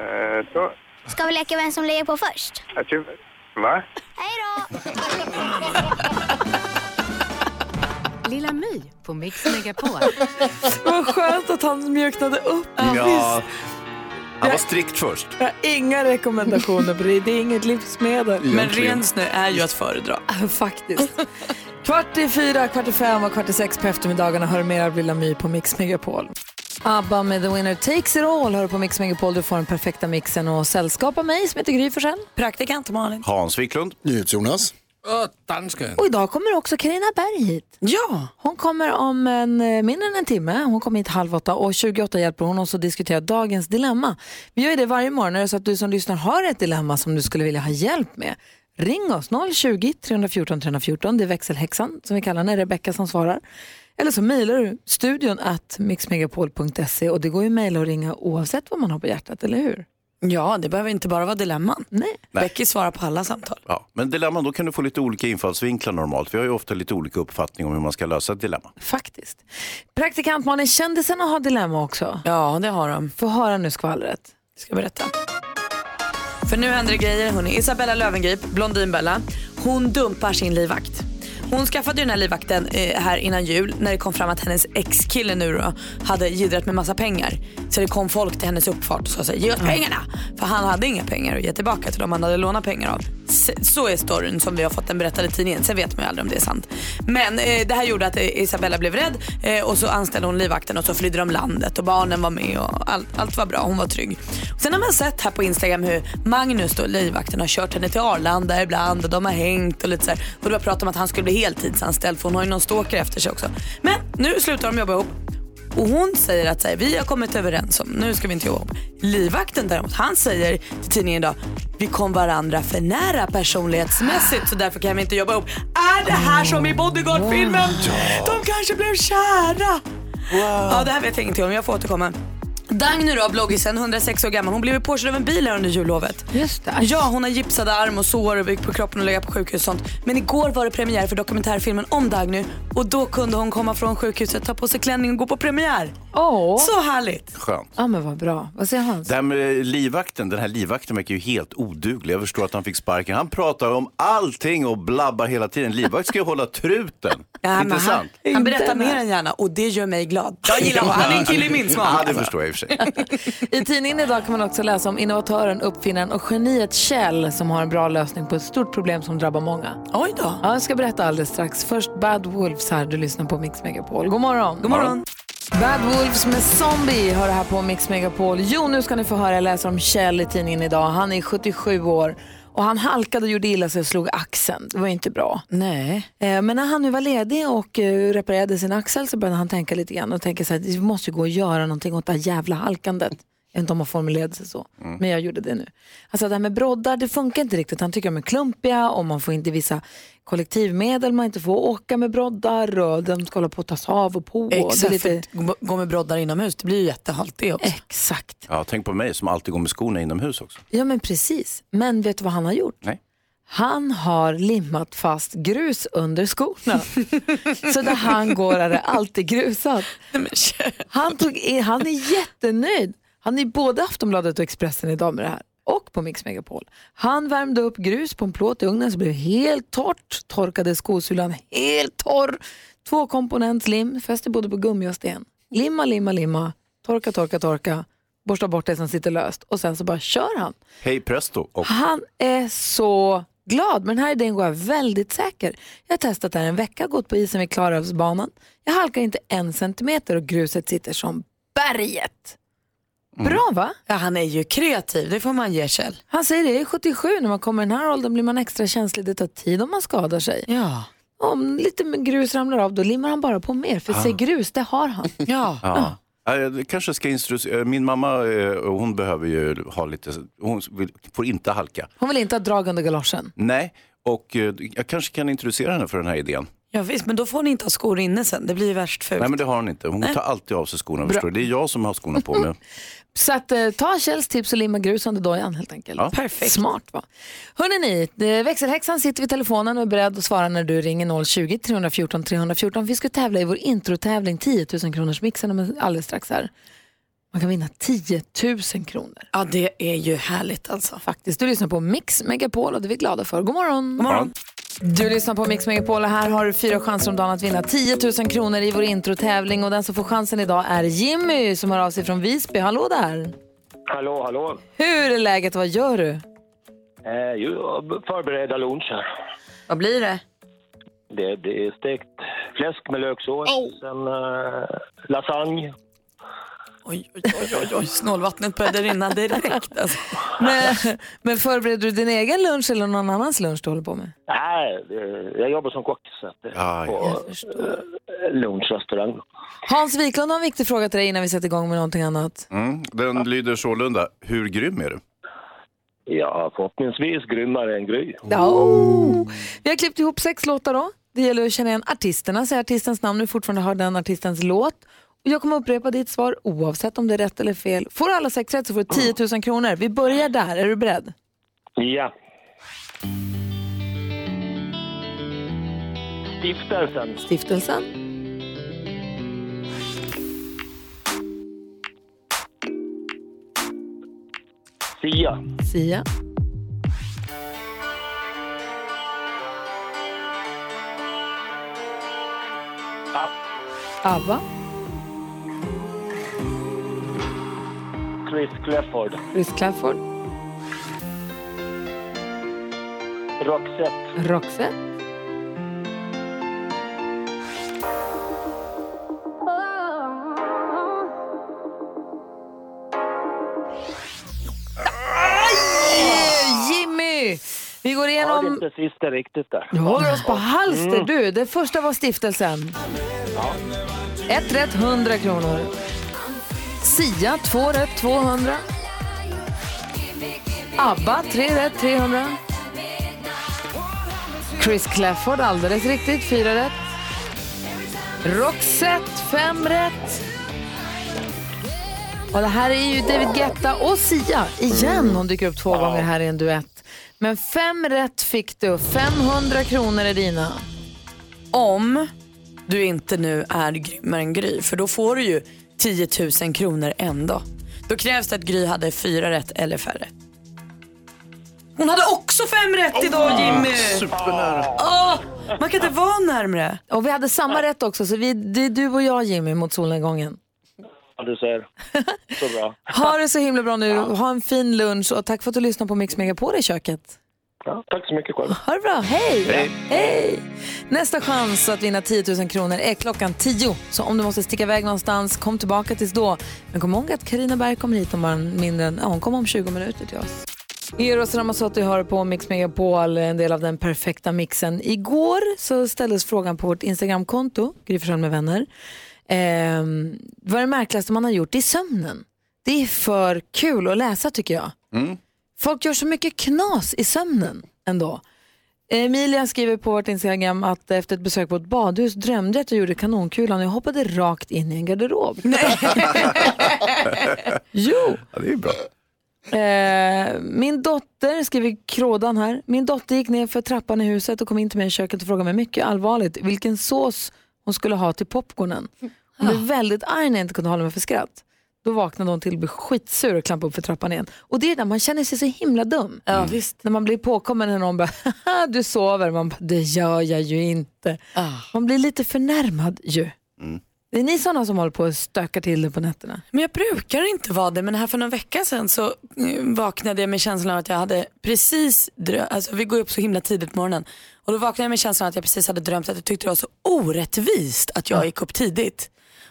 [SPEAKER 8] Eh, då,
[SPEAKER 9] Ska vi leka vem som lägger på först?
[SPEAKER 8] jag tror, va?
[SPEAKER 7] Lilla My på Mix Megapol.
[SPEAKER 1] [LAUGHS] Vad skönt att han mjuknade upp.
[SPEAKER 3] Ja, han var strikt först.
[SPEAKER 1] Jag har inga rekommendationer på det. Det är inget livsmedel.
[SPEAKER 3] Men Egentligen. ren
[SPEAKER 1] snö är ju att föredra. Faktiskt. Kvart i fyra, kvart i fem och kvart i sex på eftermiddagarna hör du mer av Lilla My på Mix Megapol. ABBA med The Winner Takes It All hör du på Mix Megapol. Du får den perfekta mixen och sällskap av mig som heter Gry Forssell.
[SPEAKER 4] Praktikant Malin.
[SPEAKER 3] Hans Wiklund.
[SPEAKER 10] Jonas.
[SPEAKER 2] dansken.
[SPEAKER 1] Och idag kommer också Karina Berg hit. Ja. Hon kommer om en, eh, mindre än en timme. Hon kommer hit halv åtta och 28 hjälper hon oss att diskutera dagens dilemma. Vi gör ju det varje morgon. Är det så att du som lyssnar har ett dilemma som du skulle vilja ha hjälp med? Ring oss 020 314 314. Det är växelhäxan som vi kallar henne, Rebecka som svarar. Eller så mejlar du studion att mixmegapol.se och det går ju att mejla och ringa oavsett vad man har på hjärtat, eller hur?
[SPEAKER 4] Ja, det behöver inte bara vara dilemman.
[SPEAKER 1] Nej.
[SPEAKER 4] Becky svarar på alla samtal.
[SPEAKER 3] Ja, men dilemman, då kan du få lite olika infallsvinklar normalt. Vi har ju ofta lite olika uppfattning om hur man ska lösa ett dilemma.
[SPEAKER 1] Faktiskt. Praktikant Malin, kändisarna har dilemma också.
[SPEAKER 4] Ja, det har de.
[SPEAKER 1] Få höra nu skvallret.
[SPEAKER 4] Ska berätta. För nu händer det grejer. Hon är Isabella Löwengrip, Blondinbella. Hon dumpar sin livvakt. Hon skaffade ju den här livvakten eh, här innan jul när det kom fram att hennes ex-kille nu då hade jiddrat med massa pengar. Så det kom folk till hennes uppfart och sa så här,
[SPEAKER 1] Mm.
[SPEAKER 4] ge oss pengarna. För han hade inga pengar att ge tillbaka till dem han hade lånat pengar av. S- Så är storyn som vi har fått den berättad i tidningen. Sen vet man ju aldrig om det är sant. Men eh, det här gjorde att eh, Isabella blev rädd eh, och så anställde hon livvakten och så flydde de landet och barnen var med och allt, allt var bra. Hon var trygg. Och sen har man sett här på Instagram hur Magnus då, livvakten, har kört henne till Arlanda ibland och de har hängt och lite så här. Och det var prat om att han skulle bli heltidsanställd för hon har ju någon stalker efter sig också. Men nu slutar de jobba ihop. Och hon säger att så här, vi har kommit överens om, nu ska vi inte jobba om. Livvakten däremot, han säger till tidningen idag, vi kom varandra för nära personlighetsmässigt så därför kan vi inte jobba ihop. Är det här som i Bodyguard-filmen? De kanske blev kära. Ja, det här vet jag ingenting om, jag får återkomma. Dagny då, bloggisen, 106 år gammal, hon blev ju påkörd av en bil här under jullovet.
[SPEAKER 1] Just det.
[SPEAKER 4] Ja, hon har gipsade arm och sår och gick på kroppen och legat på sjukhus och sånt. Men igår var det premiär för dokumentärfilmen om Dagny och då kunde hon komma från sjukhuset, ta på sig klänning och gå på premiär.
[SPEAKER 1] Åh.
[SPEAKER 4] Så härligt.
[SPEAKER 3] Skönt.
[SPEAKER 1] Ja men vad bra. Vad säger Hans?
[SPEAKER 3] Det här med livvakten, den här livvakten verkar ju helt oduglig. Jag förstår att han fick sparken. Han pratar om allting och blabbar hela tiden. Livvakt ska ju
[SPEAKER 4] [LAUGHS]
[SPEAKER 3] hålla truten. Intressant.
[SPEAKER 4] Han, han berättar mer än gärna och det gör mig glad. Jag gillar honom, han är en kille i min smak.
[SPEAKER 3] Ja, det förstår jag i och för sig.
[SPEAKER 1] I tidningen idag kan man också läsa om innovatören, uppfinnaren och geniet Kjell som har en bra lösning på ett stort problem som drabbar många.
[SPEAKER 4] Oj då.
[SPEAKER 1] Ja, jag ska berätta alldeles strax. Först Bad Wolves här. Du lyssnar på Mix Megapol. God morgon.
[SPEAKER 4] God morgon.
[SPEAKER 1] Bad Wolves med Zombie har det här på Mix Megapol. Jo, nu ska ni få höra. Jag läser om Kjell i tidningen idag. Han är 77 år och han halkade och gjorde illa sig och slog axeln. Det var ju inte bra.
[SPEAKER 4] Nej.
[SPEAKER 1] Eh, Men när han nu var ledig och eh, reparerade sin axel så började han tänka lite grann och tänka så här, vi måste ju gå och göra någonting åt det här jävla halkandet. Jag vet inte om man formulerade sig så,
[SPEAKER 4] Mm.
[SPEAKER 1] men jag gjorde det nu. Alltså det här med broddar, det funkar inte riktigt. Han tycker de är klumpiga och man får inte vissa kollektivmedel, man inte får åka med broddar och de ska hålla på att tas av och på.
[SPEAKER 3] Exakt,
[SPEAKER 1] det är lite... gå med broddar inomhus, det blir ju jättehalt det också. Exakt,
[SPEAKER 3] Ja, tänk på mig som alltid går med skorna inomhus också.
[SPEAKER 1] ja men precis. Men vet du vad han har gjort?
[SPEAKER 3] Nej.
[SPEAKER 1] Han har limmat fast grus under skorna. så där han går är det alltid grusat. Han, tog i, han är jättenöjd. Han är i både Aftonbladet och Expressen idag med det här. Och på Mix Megapol. Han värmde upp grus på en plåt i ugnen så blev det helt torrt. Torkade skosulan helt torr. Två komponentslim, fäste både på gummi och sten. Limma, limma, limma. Torka, torka, torka. Borsta bort det som sitter löst. Och sen så bara kör han.
[SPEAKER 3] Hej presto! Och
[SPEAKER 1] Han är så glad. Men den här idén går jag väldigt säker. Jag har testat det här en vecka, gått på isen vid Klarälvsbanan. Jag halkar inte en centimeter och gruset sitter som berget.
[SPEAKER 3] Mm.
[SPEAKER 1] Bra va? Ja, han är ju kreativ, det får man ge Kjell. Han säger det, jag är 77, när man kommer i den här åldern blir man extra känslig, det tar tid om man skadar sig. Ja. Om lite grus ramlar av då limmar han bara på mer, för
[SPEAKER 3] Ah.
[SPEAKER 1] se grus, det har han. Ja.
[SPEAKER 3] Ja. Ja, Jag kanske ska instruera. Min mamma eh, hon behöver ju ha lite, hon vill, får inte halka.
[SPEAKER 1] Hon vill inte ha drag under galoschen.
[SPEAKER 3] Nej, och eh, jag kanske kan introducera henne för den här idén.
[SPEAKER 4] Ja visst, men då får ni inte ha skor inne sen. Det blir ju värst fult.
[SPEAKER 3] Nej men det har hon inte. Hon
[SPEAKER 4] Nej.
[SPEAKER 3] tar alltid av sig skorna.
[SPEAKER 1] Bra.
[SPEAKER 3] Förstår du? Det är jag som har skorna
[SPEAKER 4] [LAUGHS]
[SPEAKER 3] på mig.
[SPEAKER 1] Så att, eh, ta Kjells tips och limma grus under dojan helt enkelt.
[SPEAKER 3] Ja.
[SPEAKER 1] Perfekt. Smart va? Hörrni ni, eh, växelhäxan sitter vid telefonen och är beredd att svara när du ringer 020-314 314. Vi ska tävla i vår introtävling 10 000 kronors mixen om alldeles strax här. Man kan vinna 10 000 kronor.
[SPEAKER 4] Ja det är ju härligt alltså.
[SPEAKER 1] Faktiskt, du lyssnar på Mix Megapol och det är vi glada för. God morgon!
[SPEAKER 4] God morgon.
[SPEAKER 1] Du lyssnar på Mix Megapol och här har du fyra chanser om dagen att vinna 10 000 kronor i vår introtävling och den som får chansen idag är Jimmy som hör av sig från Visby. Hallå där!
[SPEAKER 11] Hallå, hallå.
[SPEAKER 1] Hur är läget? Vad gör du?
[SPEAKER 11] Eh, ju, förbereda lunch här.
[SPEAKER 1] Vad blir det?
[SPEAKER 11] Det, det är stekt fläsk med löksås, sen eh, lasagne.
[SPEAKER 4] Oj, oj, oj, snålvattnet började rinna direkt alltså.
[SPEAKER 1] Men, men förbereder du din egen lunch eller någon annans lunch du håller på med?
[SPEAKER 11] Nej, det- Äh, eh, jag jobbar som kock så att, ah, på eh, lunchrestaurang.
[SPEAKER 1] Hans Wiklund har en viktig fråga till dig innan vi sätter igång med någonting annat.
[SPEAKER 3] Mm. Den lyder sålunda. Hur grym är du?
[SPEAKER 11] Ja, förhoppningsvis grymmare än Gry.
[SPEAKER 1] Ja, oh. Vi har klippt ihop sex låtar då. Det gäller att känna igen artisterna, säga artistens namn, nu fortfarande hör den artistens låt. Och jag kommer upprepa ditt svar oavsett om det är rätt eller fel. Får du alla sex rätt så får du 10 000 kronor. Vi börjar där, är du beredd?
[SPEAKER 11] Ja. Stiftelsen.
[SPEAKER 1] Stiftelsen.
[SPEAKER 11] Sia.
[SPEAKER 1] Sia.
[SPEAKER 11] Ah,
[SPEAKER 1] Abba.
[SPEAKER 11] Chris Clefford.
[SPEAKER 1] Chris Clafford.
[SPEAKER 11] Roxette.
[SPEAKER 1] Roxette. Aj! Jimmy! Vi går
[SPEAKER 11] Ja, det är
[SPEAKER 1] igenom...
[SPEAKER 11] inte sista riktigt där.
[SPEAKER 1] Du håller oss på halster
[SPEAKER 11] Mm.
[SPEAKER 1] du. Det första var stiftelsen.
[SPEAKER 11] Ja.
[SPEAKER 1] Ett rätt, 100 kronor. Sia, två rätt, 200. ABBA, tre rätt, 300. Chris Clafford, alldeles riktigt, fyra rätt. Roxette, fem rätt. Och det här är ju David Guetta och Sia igen. Hon dyker upp två gånger här i en duett. Men fem rätt fick du. 500 kronor är dina.
[SPEAKER 4] Om du inte nu är grymmare än Gry, för då får du ju 10 000 kronor ändå. Då krävs det att Gry hade fyra rätt eller färre. Hon hade också fem rätt idag Jimmy!
[SPEAKER 3] Supernära.
[SPEAKER 4] Åh, man kan inte vara närmre.
[SPEAKER 1] Och vi hade samma rätt också, så vi, det är du och jag Jimmy mot solnedgången.
[SPEAKER 11] Ja, du ser. Så bra.
[SPEAKER 1] Ha det så himla bra nu, ha en fin lunch och tack för att du lyssnade på Mix Megapol i köket.
[SPEAKER 11] Ja, tack så mycket själv.
[SPEAKER 1] Ha det bra, hej!
[SPEAKER 11] Hej.
[SPEAKER 1] Hej! Nästa chans att vinna 10 000 kronor är klockan 10. Så om du måste sticka iväg någonstans, kom tillbaka tills då. Men kom ihåg att Karina Berg kommer hit om bara mindre än, ja, hon kommer om 20 minuter till oss. Eros Ramazzotti hör på Mix Megapol, en del av den perfekta mixen. Igår så ställdes frågan på vårt Instagramkonto, Gry Forssell med vänner, ehm, vad är det märkligaste man har gjort i sömnen? Det är för kul att läsa tycker jag.
[SPEAKER 11] Mm.
[SPEAKER 1] Folk gör så mycket knas i sömnen ändå. Emilia skriver på vårt Instagram att efter ett besök på ett badhus drömde jag att jag gjorde kanonkulan och jag hoppade rakt in i en garderob. jo!
[SPEAKER 3] Ja, det är
[SPEAKER 12] [LAUGHS]
[SPEAKER 3] bra.
[SPEAKER 1] Eh, min dotter, skriver Krådan här, min dotter gick ner för trappan i huset och kom in till mig i köket och frågade mig mycket allvarligt vilken sås hon skulle ha till popcornen. Hon
[SPEAKER 4] Ah.
[SPEAKER 1] blev väldigt arg när jag inte kunde hålla mig för skratt. Då vaknade hon till och blev skitsur och klampade upp för trappan igen. Och det är där man känner sig så himla dum.
[SPEAKER 4] Ja, Mm. visst.
[SPEAKER 1] När man blir påkommen när någon bara, Haha, du sover. Man bara, det gör jag ju inte.
[SPEAKER 4] Ah.
[SPEAKER 1] Man blir lite förnärmad ju.
[SPEAKER 3] Mm.
[SPEAKER 1] Det är ni sådana som håller på och stökar till det på nätterna.
[SPEAKER 4] Men jag brukar inte vara det, men här för någon vecka sedan så eh, vaknade jag med känslan av att jag hade precis drömt, alltså vi går upp så himla tidigt på morgonen och då vaknade jag med känslan av att jag precis hade drömt att jag tyckte det var så orättvist att jag gick upp tidigt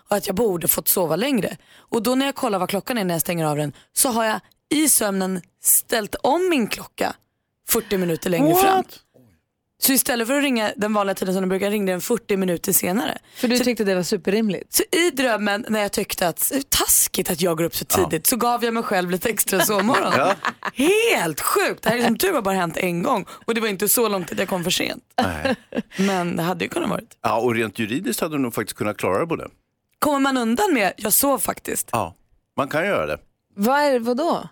[SPEAKER 4] och att jag borde fått sova längre. Och då när jag kollar vad klockan är när jag stänger av den så har jag i sömnen ställt om min klocka 40 minuter längre fram. Så istället för att ringa den vanliga tiden som den brukar ringde den 40 minuter senare.
[SPEAKER 1] För du tyckte det var superrimligt?
[SPEAKER 4] Så i drömmen när jag tyckte att taskigt att jag går upp så tidigt så gav jag mig själv lite extra sovmorgon.
[SPEAKER 3] [LAUGHS] Ja.
[SPEAKER 4] Helt sjukt! Det här är som tur har bara hänt en gång och det var inte så långt att jag kom för sent.
[SPEAKER 3] Nej.
[SPEAKER 4] [LAUGHS] Men det hade ju kunnat vara.
[SPEAKER 3] Ja, och rent juridiskt hade du nog faktiskt kunnat klara det både.
[SPEAKER 4] Kommer man undan med jag sov faktiskt?
[SPEAKER 3] Ja, man kan göra det.
[SPEAKER 1] Vad är, vadå?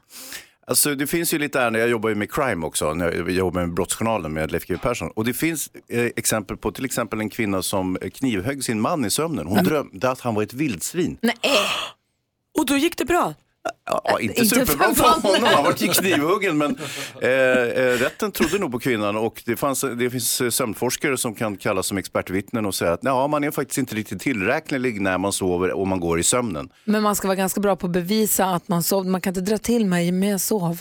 [SPEAKER 3] Alltså det finns ju lite ärenden, jag jobbar ju med crime också, när jag jobbar med Brottsjournalen med Leif GW Persson. Och det finns eh, exempel på till exempel en kvinna som eh, knivhögg sin man i sömnen. Hon drömde att han var ett vildsvin.
[SPEAKER 1] Nej.
[SPEAKER 4] Mm. Och då gick det bra?
[SPEAKER 3] Ja, inte,
[SPEAKER 4] Inte för
[SPEAKER 3] superbra för
[SPEAKER 4] mannen.
[SPEAKER 3] honom, han var knivhuggen. Men eh, eh, rätten trodde nog på kvinnan och det, fanns, det finns eh, sömnforskare som kan kallas som expertvittnen och säga att ja, man är faktiskt inte riktigt tillräknelig när man sover och man går i sömnen.
[SPEAKER 1] Men man ska vara ganska bra på att bevisa att man sov. Man kan inte dra till mig, men jag sov.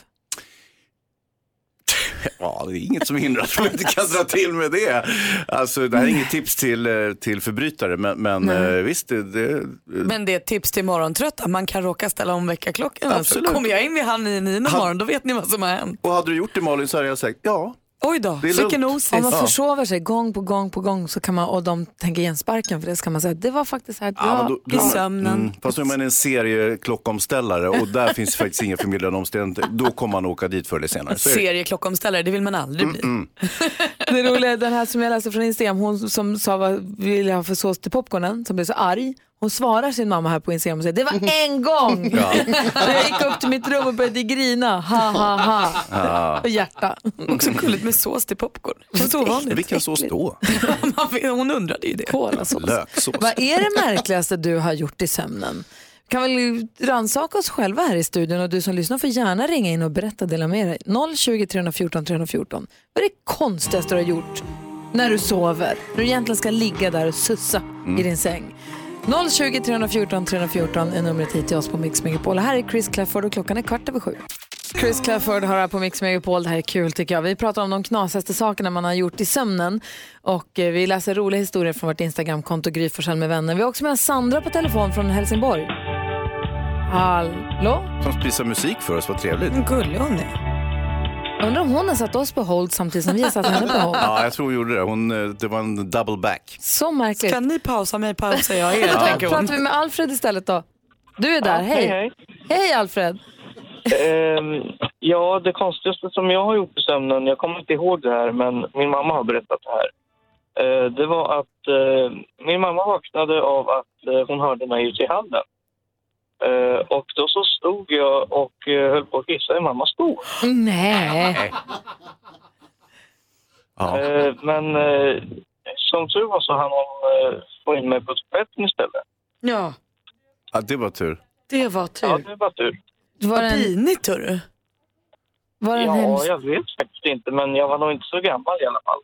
[SPEAKER 3] Ja, det är inget som hindrar att man inte kan dra till med det. Alltså, det här är inget tips till, eh, till förbrytare, men, men eh, visst, det, det,
[SPEAKER 4] Men det är ett tips till morgontrötta, man kan råka ställa om väckarklockan.
[SPEAKER 3] Absolut.
[SPEAKER 4] Absolut. Kommer jag in vid halv nio, nio någon
[SPEAKER 3] Ha-
[SPEAKER 4] morgon då vet ni vad som har hänt.
[SPEAKER 3] Och hade du gjort det Malin så hade jag sagt ja.
[SPEAKER 4] Oj då,
[SPEAKER 3] Det är
[SPEAKER 4] vilken
[SPEAKER 3] lugnt.
[SPEAKER 4] osis.
[SPEAKER 1] Om man
[SPEAKER 3] Ja.
[SPEAKER 1] försover sig gång på gång på gång så kan man, och de tänker igen sparken för det, så kan man säga att det var faktiskt här att
[SPEAKER 3] Ja, men
[SPEAKER 1] jag
[SPEAKER 3] då- då-
[SPEAKER 1] i sömnen.
[SPEAKER 3] Mm, fast nu är man en serieklockomställare och
[SPEAKER 4] [LAUGHS]
[SPEAKER 3] där finns faktiskt inga förmildrande omständigheter. Då kommer man åka dit förr eller senare. Så är det.
[SPEAKER 4] Serieklockomställare, det vill man aldrig bli.
[SPEAKER 3] Mm.
[SPEAKER 1] Det roliga är den här som jag läste från Instagram, hon som sa vad vill jag ha för sås till popcornen, som blev så arg. Hon svarar sin mamma här på Instagram och säger
[SPEAKER 3] [LAUGHS]
[SPEAKER 1] det var en gång.
[SPEAKER 11] Ja.
[SPEAKER 1] När [LAUGHS] jag gick upp till mitt rum och började grina, ha ha ha.
[SPEAKER 3] Ja.
[SPEAKER 1] Och hjärta.
[SPEAKER 4] Också
[SPEAKER 3] Mm.
[SPEAKER 4] gulligt med sås till popcorn. Känns ovanligt.
[SPEAKER 3] Vilken sås
[SPEAKER 4] [LAUGHS]
[SPEAKER 3] då?
[SPEAKER 4] Hon undrade ju det.
[SPEAKER 1] Kolasås.
[SPEAKER 3] Löksås.
[SPEAKER 1] Vad är det märkligaste du har gjort i sömnen? Vi kan väl rannsaka oss själva här i studion och du som lyssnar får gärna ringa in och berätta och dela med dig. 020 314 314. Vad är det konstigaste du har gjort när du sover? När du egentligen ska ligga där och sussa i din säng. 020 314 314 är numret hit till oss på Mix Megapol. Här är Chris Clafford och klockan är kvart över sju. Chris Clafford har här på Mix Megapol. Det här är kul tycker jag. Vi pratar om de knasigaste sakerna man har gjort i sömnen. Och eh, vi läser roliga historier från vårt Instagramkonto Gry Forssell med vänner. Vi har också med oss Sandra på telefon från Helsingborg. Hallå?
[SPEAKER 3] Som spisar musik för oss, vad trevligt.
[SPEAKER 4] Gullig hon är.
[SPEAKER 1] Undrar om hon har satt oss på hold samtidigt som vi har satt henne på hold.
[SPEAKER 3] Ja, jag tror hon gjorde det. Hon, eh, det var en double back.
[SPEAKER 1] Så märkligt.
[SPEAKER 4] Kan ni pausa mig pausar Alltså, jag er,
[SPEAKER 1] Då
[SPEAKER 4] tänker hon.
[SPEAKER 1] pratar vi med Alfred istället då. Du är där,
[SPEAKER 13] Ja,
[SPEAKER 1] hej.
[SPEAKER 13] hej,
[SPEAKER 1] Hej,
[SPEAKER 13] hej.
[SPEAKER 1] Alfred.
[SPEAKER 13] Ehm, ja, det konstigaste som jag har gjort i sömnen, jag kommer inte ihåg det här, men min mamma har berättat det här. Eh, det var att eh, min mamma vaknade av att eh, hon hörde mig ute i hallen. Eh, och då så stod jag och eh, höll på att kissa i mammas skor.
[SPEAKER 1] Nej.
[SPEAKER 13] Eh, men eh, som tur var så hann hon eh, få in mig på toaletten istället.
[SPEAKER 4] Ja,
[SPEAKER 3] Ja, det var tur.
[SPEAKER 4] det var tur.
[SPEAKER 13] Ja, det var tur.
[SPEAKER 1] Var
[SPEAKER 4] Vad pinigt hörru.
[SPEAKER 1] Var
[SPEAKER 13] ja, jag vet faktiskt inte, men jag var nog inte så gammal i alla fall.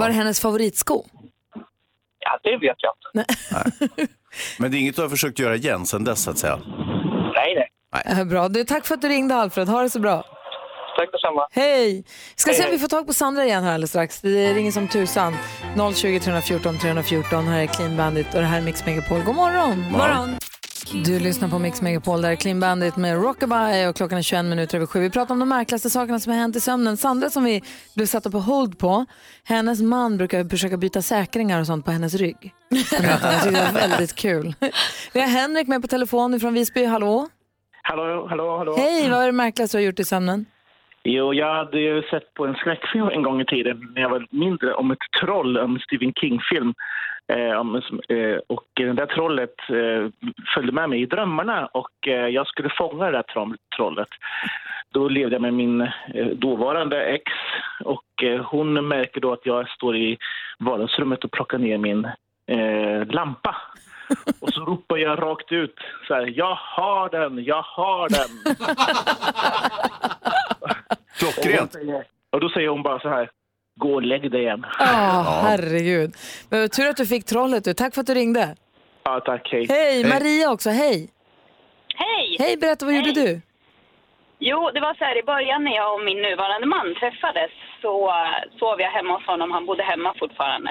[SPEAKER 1] Var det hennes favoritsko?
[SPEAKER 13] Ja, det vet jag inte.
[SPEAKER 3] Men det är inget du har försökt göra igen sen dess, så att säga.
[SPEAKER 13] Nej, nej.
[SPEAKER 1] Eh, Bra. Du, tack för att du ringde Alfred. Ha det så bra.
[SPEAKER 13] Tack detsamma.
[SPEAKER 1] Hej! Ska
[SPEAKER 13] Hej,
[SPEAKER 1] se om
[SPEAKER 13] hej.
[SPEAKER 1] vi får tag på Sandra igen här alldeles strax. Det ringer som tusan. 020 314 314. Här är Clean Bandit och det här är Mix Megapol. God morgon!
[SPEAKER 3] Morgon.
[SPEAKER 1] Du lyssnar på Mix Megapol, där är Clean Bandit med Rockabye och klockan är 21 minuter över sju. Vi pratar om de märkligaste sakerna som har hänt i sömnen. Sandra som vi blev satta på hold på, hennes man brukar försöka byta säkringar och sånt på hennes rygg. Jag tyckte det
[SPEAKER 4] [LAUGHS]
[SPEAKER 1] var väldigt kul. [LAUGHS] Vi har Henrik med på telefon från Visby, hallå?
[SPEAKER 11] Hallå, hallå, hallå.
[SPEAKER 1] Hej, vad är det märkligaste du har gjort i sömnen?
[SPEAKER 11] Jo, jag hade ju sett på en skräckfilm en gång i tiden när jag var mindre om ett troll, en Stephen King-film. Eh, om, eh, och det där trollet eh, följde med mig i drömmarna och eh, jag skulle fånga det där tro- trollet. Då levde jag med min eh, dåvarande ex och eh, hon märker då att jag står i vardagsrummet och plockar ner min eh, lampa. Och så ropar jag rakt ut så här, jag har den, jag har den.
[SPEAKER 3] Klockrent.
[SPEAKER 11] Och, hon säger- och då säger hon bara så här, gå och lägg dig igen.
[SPEAKER 1] Ja, herregud. Men vad tur att du fick trollet du. Tack för att du ringde.
[SPEAKER 11] Ja, tack, hej.
[SPEAKER 1] Hej, Maria också, hej.
[SPEAKER 14] Hej!
[SPEAKER 1] Hej, berätta vad gjorde du?
[SPEAKER 14] Jo, det var så här i början när jag och min nuvarande man träffades så eh, sov jag hemma hos honom. Han bodde hemma fortfarande.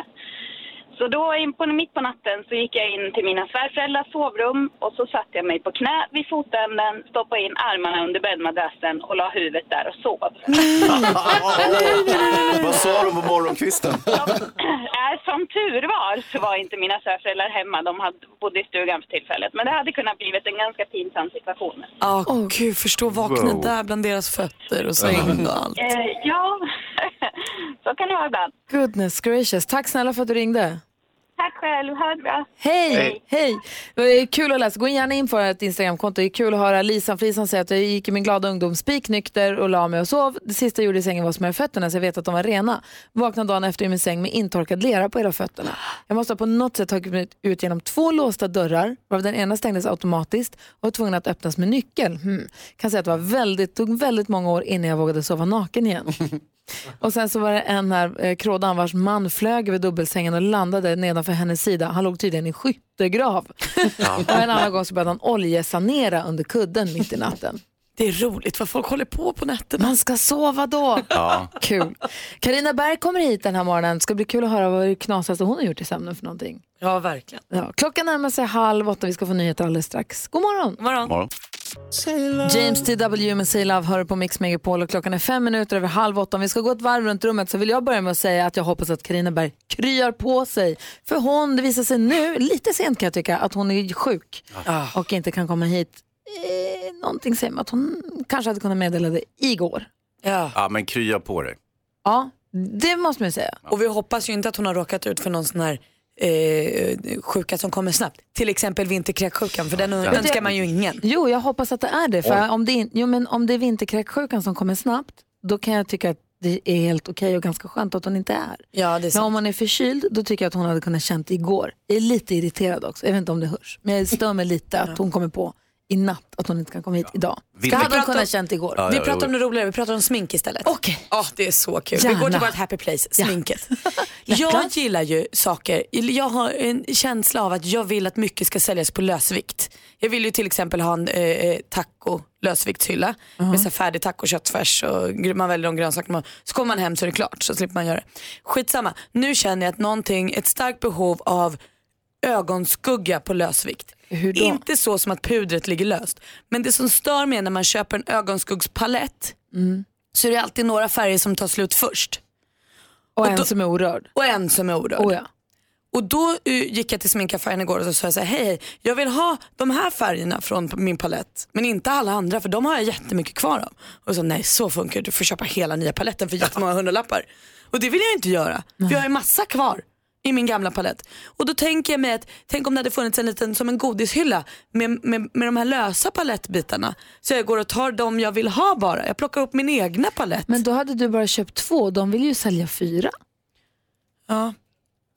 [SPEAKER 14] Så då in på, mitt på natten så gick jag in till mina svärföräldrars sovrum och så satte jag mig på knä vid fotänden, stoppade in armarna under bäddmadrassen och la huvudet där och [LAUGHS] sov.
[SPEAKER 3] [LAUGHS] Vad sa de på morgonkvisten?
[SPEAKER 14] Äh, Som tur var så var inte mina svärföräldrar hemma. De hade, bodde i stugan för tillfället. Men det hade kunnat blivit en ganska pinsam situation.
[SPEAKER 4] Ja, gud, förstå vakna
[SPEAKER 14] Wow.
[SPEAKER 4] där bland deras fötter och säng och allt.
[SPEAKER 14] Eh, ja, så kan det vara ibland.
[SPEAKER 1] Goodness gracious. Tack snälla för att du ringde.
[SPEAKER 14] Tack själv, ha det bra.
[SPEAKER 1] Hej! Hej! Det är kul att läsa. Gå gärna in för ett Instagramkonto. Det är kul att höra Lisan Frisan säga att jag gick i min glada ungdom spiknykter och la mig och sov. Det sista jag gjorde i sängen var att smörja fötterna så jag vet att de var rena. Vaknade dagen efter i min säng med intorkad lera på hela fötterna. Jag måste ha på något sätt tagit mig ut genom två låsta dörrar varav den ena stängdes automatiskt och var tvungen att öppnas med nyckel. Hmm. Kan säga att det var väldigt, tog väldigt många år innan jag vågade sova naken igen. Och sen så var det en här eh, krådan vars man flög över dubbelsängen och landade nedanför hennes sida. Han låg tydligen i skyttegrav. [LAUGHS] Och en annan gång så började han oljesanera under kudden mitt i natten.
[SPEAKER 4] Det är roligt vad folk håller på på nätterna.
[SPEAKER 1] Man ska sova då.
[SPEAKER 3] Ja.
[SPEAKER 1] Kul. Karina Berg kommer hit den här morgonen. Ska bli kul att höra vad det knasigaste hon har gjort i sömnen för någonting.
[SPEAKER 4] Ja, verkligen.
[SPEAKER 1] Ja, klockan närmar sig halv åtta. Vi ska få nyheter alldeles strax. God morgon. James T.W. med Say Love hör på Mix Megapol och klockan är fem minuter över halv åtta. Om vi ska gå ett varv runt rummet så vill jag börja med att säga att jag hoppas att Carina Berg kryar på sig. För hon, det visar sig nu, lite sent kan jag tycka, att hon är sjuk
[SPEAKER 4] Ah.
[SPEAKER 1] och inte kan komma hit. Eh, någonting säger mig att hon kanske hade kunnat meddela det igår.
[SPEAKER 4] Ja.
[SPEAKER 3] ja, men krya på dig.
[SPEAKER 1] Ja, det måste man ju säga.
[SPEAKER 4] Och vi hoppas ju inte att hon har råkat ut för någon sån här eh, sjuka som kommer snabbt. Till exempel vinterkräksjukan, för den
[SPEAKER 1] Men det-
[SPEAKER 4] önskar man ju ingen.
[SPEAKER 1] Jo, jag hoppas att det är det. För
[SPEAKER 4] Oj.
[SPEAKER 1] om det, in, jo, men om det är vinterkräksjukan som kommer snabbt, då kan jag tycka att det är helt okej och ganska skönt att hon inte är.
[SPEAKER 4] Ja, det är
[SPEAKER 1] men om hon är förkyld, då tycker jag att hon hade kunnat känt igår. Jag är lite irriterad också, jag vet inte om det hörs. Men jag stör mig lite att hon kommer på i natt att hon inte kan komma hit idag. Det hade hon kunnat känt igår.
[SPEAKER 4] vi pratar om det roligare, vi pratar om smink istället.
[SPEAKER 1] Okej.
[SPEAKER 4] Ja, det är så kul. Vi går
[SPEAKER 1] Gärna.
[SPEAKER 4] till vårt happy place,
[SPEAKER 1] [LAUGHS]
[SPEAKER 4] sminket. jag gillar ju saker, jag har en känsla av att jag vill att mycket ska säljas på lösvikt. Jag vill ju till exempel ha en eh, taco lösviktshylla
[SPEAKER 1] Uh-huh.
[SPEAKER 4] med så här färdig taco, köttfärs och gr- man väljer de grönsaker man Så kommer man hem så är det klart, så slipper man göra det. Skitsamma, nu känner jag att någonting, ett starkt behov av ögonskugga på lösvikt. Inte så som att pudret ligger löst. Men det som stör mig är när man köper en ögonskuggspalett
[SPEAKER 1] Mm.
[SPEAKER 4] så är det alltid några färger som tar slut först.
[SPEAKER 1] Och, en som är orörd.
[SPEAKER 4] Och en som är orörd.
[SPEAKER 1] Oh, ja.
[SPEAKER 4] Och då eh, gick jag till sminkaffären igår och så sa jag så här, hej, hej, jag vill ha de här färgerna från min palett, men inte alla andra för de har jag jättemycket kvar av. Och så nej, så funkar det, du får köpa hela nya paletten för
[SPEAKER 1] [LAUGHS]
[SPEAKER 4] jättemånga hundralappar. Och det vill jag inte göra, för jag har ju massa kvar i min gamla palett. Och då tänker jag mig att, tänk om det hade funnits en liten, som en godishylla med, med, med de här lösa palettbitarna. Så jag går och tar de jag vill ha bara, jag plockar upp min egna palett.
[SPEAKER 1] Men då hade du bara köpt två, de vill ju sälja fyra.
[SPEAKER 4] Ja.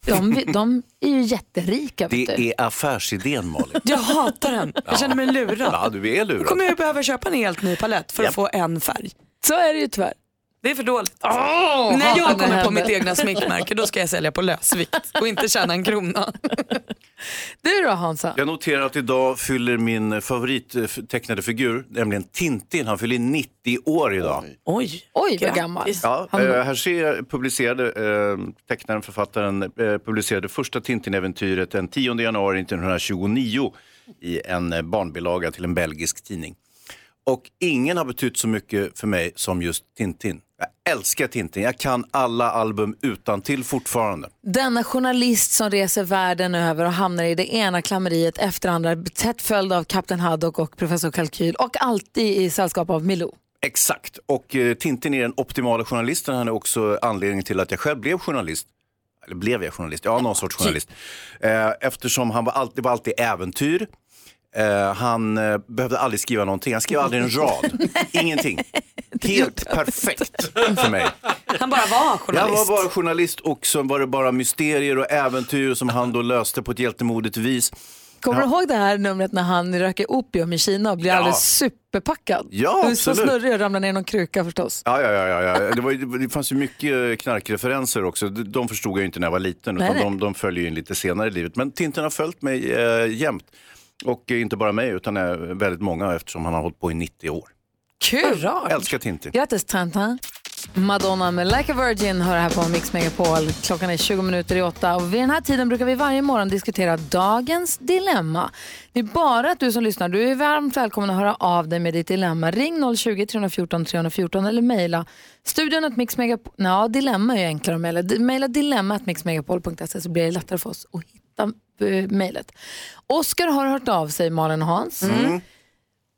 [SPEAKER 1] De, vi- de är ju jätterika. Vet
[SPEAKER 3] Det
[SPEAKER 1] du.
[SPEAKER 3] är affärsidén, Malin.
[SPEAKER 4] Jag hatar den. Jag känner mig lurad.
[SPEAKER 3] Ja, du är
[SPEAKER 4] Då
[SPEAKER 3] lurad.
[SPEAKER 4] kommer jag behöva köpa en helt ny palett för att få en färg.
[SPEAKER 1] Så är det ju tyvärr.
[SPEAKER 4] Det är för dåligt.
[SPEAKER 12] Åh,
[SPEAKER 4] När
[SPEAKER 12] hatar
[SPEAKER 4] jag
[SPEAKER 12] när det
[SPEAKER 4] kommer på mitt
[SPEAKER 12] händer.
[SPEAKER 4] egna sminkmärke då ska jag sälja på lösvikt och inte tjäna en krona.
[SPEAKER 1] Du då Hansa?
[SPEAKER 3] Jag noterar att idag fyller min favorittecknade figur, nämligen Tintin, han fyller 90 år idag.
[SPEAKER 4] Oj,
[SPEAKER 1] Oj vad gammal.
[SPEAKER 3] Ja,
[SPEAKER 1] Han-
[SPEAKER 3] eh, här ser jag publicerade, eh, tecknaren, författaren, eh, publicerade första Tintin-äventyret den 10 januari 1929 i en eh, barnbilaga till en belgisk tidning. Och ingen har betytt så mycket för mig som just Tintin. Jag älskar Tintin, jag kan alla album utan till fortfarande.
[SPEAKER 1] Denna journalist som reser världen över och hamnar i det ena klammeriet efter andra tätt följd av Kapten Haddock och Professor Kalkyl och alltid i sällskap av Milou.
[SPEAKER 3] Exakt, och eh, Tintin är den optimala journalisten. Han är också anledningen till att jag själv blev journalist. Eller blev jag journalist? Ja, någon sorts journalist. Eh, eftersom han var alltid, det var alltid äventyr. Eh, han eh, behövde aldrig skriva någonting. Han skrev aldrig en
[SPEAKER 15] [LAUGHS]
[SPEAKER 3] rad. Ingenting. Helt perfekt för mig.
[SPEAKER 4] Han bara var
[SPEAKER 3] Jag var
[SPEAKER 4] journalist.
[SPEAKER 3] bara journalist och så var det bara mysterier och äventyr som han då löste på ett hjältemodigt vis.
[SPEAKER 1] Kommer
[SPEAKER 3] Ja.
[SPEAKER 1] du ihåg det här numret när han röker opium i Kina och blir
[SPEAKER 3] Ja.
[SPEAKER 1] alldeles superpackad?
[SPEAKER 3] Ja,
[SPEAKER 1] Du är så
[SPEAKER 3] absolut.
[SPEAKER 1] snurrig och ramlar ner i någon kruka förstås.
[SPEAKER 3] Ja, ja, ja, ja. ja. Det, var, ju- det fanns ju mycket eh, knarkreferenser också. De- De förstod jag ju inte när jag var liten,
[SPEAKER 1] Nej,
[SPEAKER 3] utan
[SPEAKER 1] nej.
[SPEAKER 3] de, de följer ju in lite senare i livet. Men Tintin har följt mig eh, jämt. Och eh, inte bara mig, utan eh, väldigt många eftersom han har hållit på i 90 år.
[SPEAKER 1] Kul!
[SPEAKER 3] Älskar Tintin.
[SPEAKER 1] Grattis Tantan. Madonna med Like a Virgin hör här på Mix Megapol. Klockan är 20 minuter i åtta och vid den här tiden brukar vi varje morgon diskutera dagens dilemma. Det är bara att du som lyssnar, du är varmt välkommen att höra av dig med ditt dilemma. Ring 020-314 314 eller mejla studion att Mix Megapol... Nja, dilemma är ju enklare att mejla. Di- Mejla dilemma att mixmegapol.se så blir det lättare för oss att hitta eh, mejlet. Oskar har hört av sig, Malin och Hans.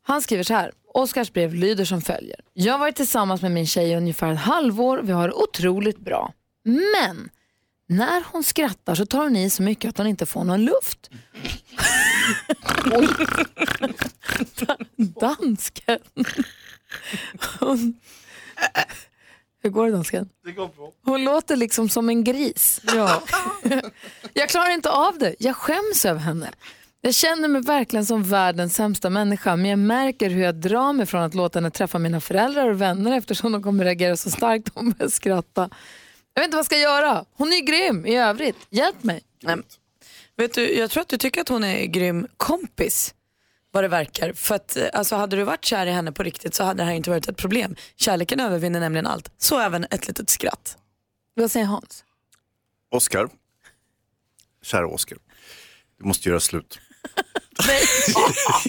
[SPEAKER 1] Han skriver så här. Oskars brev lyder som följer. Jag har varit tillsammans med min tjej i ungefär ett halvår. Vi har det otroligt bra. Men när hon skrattar så tar hon i så mycket att hon inte får någon luft. Oj. Dansken. Hon... Hur går det dansken?
[SPEAKER 16] Det går bra.
[SPEAKER 1] Hon låter liksom som en gris. [LAUGHS] jag klarar inte av det. Jag skäms över henne. Jag känner mig verkligen som världens sämsta människa men jag märker hur jag drar mig från att låta henne träffa mina föräldrar och vänner eftersom de kommer reagera så starkt om jag börjar skratta. Jag vet inte vad jag ska göra. Hon är ju grym i övrigt. Hjälp mig.
[SPEAKER 4] Vet du, jag tror att du tycker att hon är en grym kompis vad det verkar. För att eh, alltså, hade du varit kär i henne på riktigt så hade det här inte varit ett problem. Kärleken övervinner nämligen allt, så även ett litet skratt.
[SPEAKER 1] Vad säger Hans?
[SPEAKER 3] Oskar. Kära Oskar. Du måste göra slut.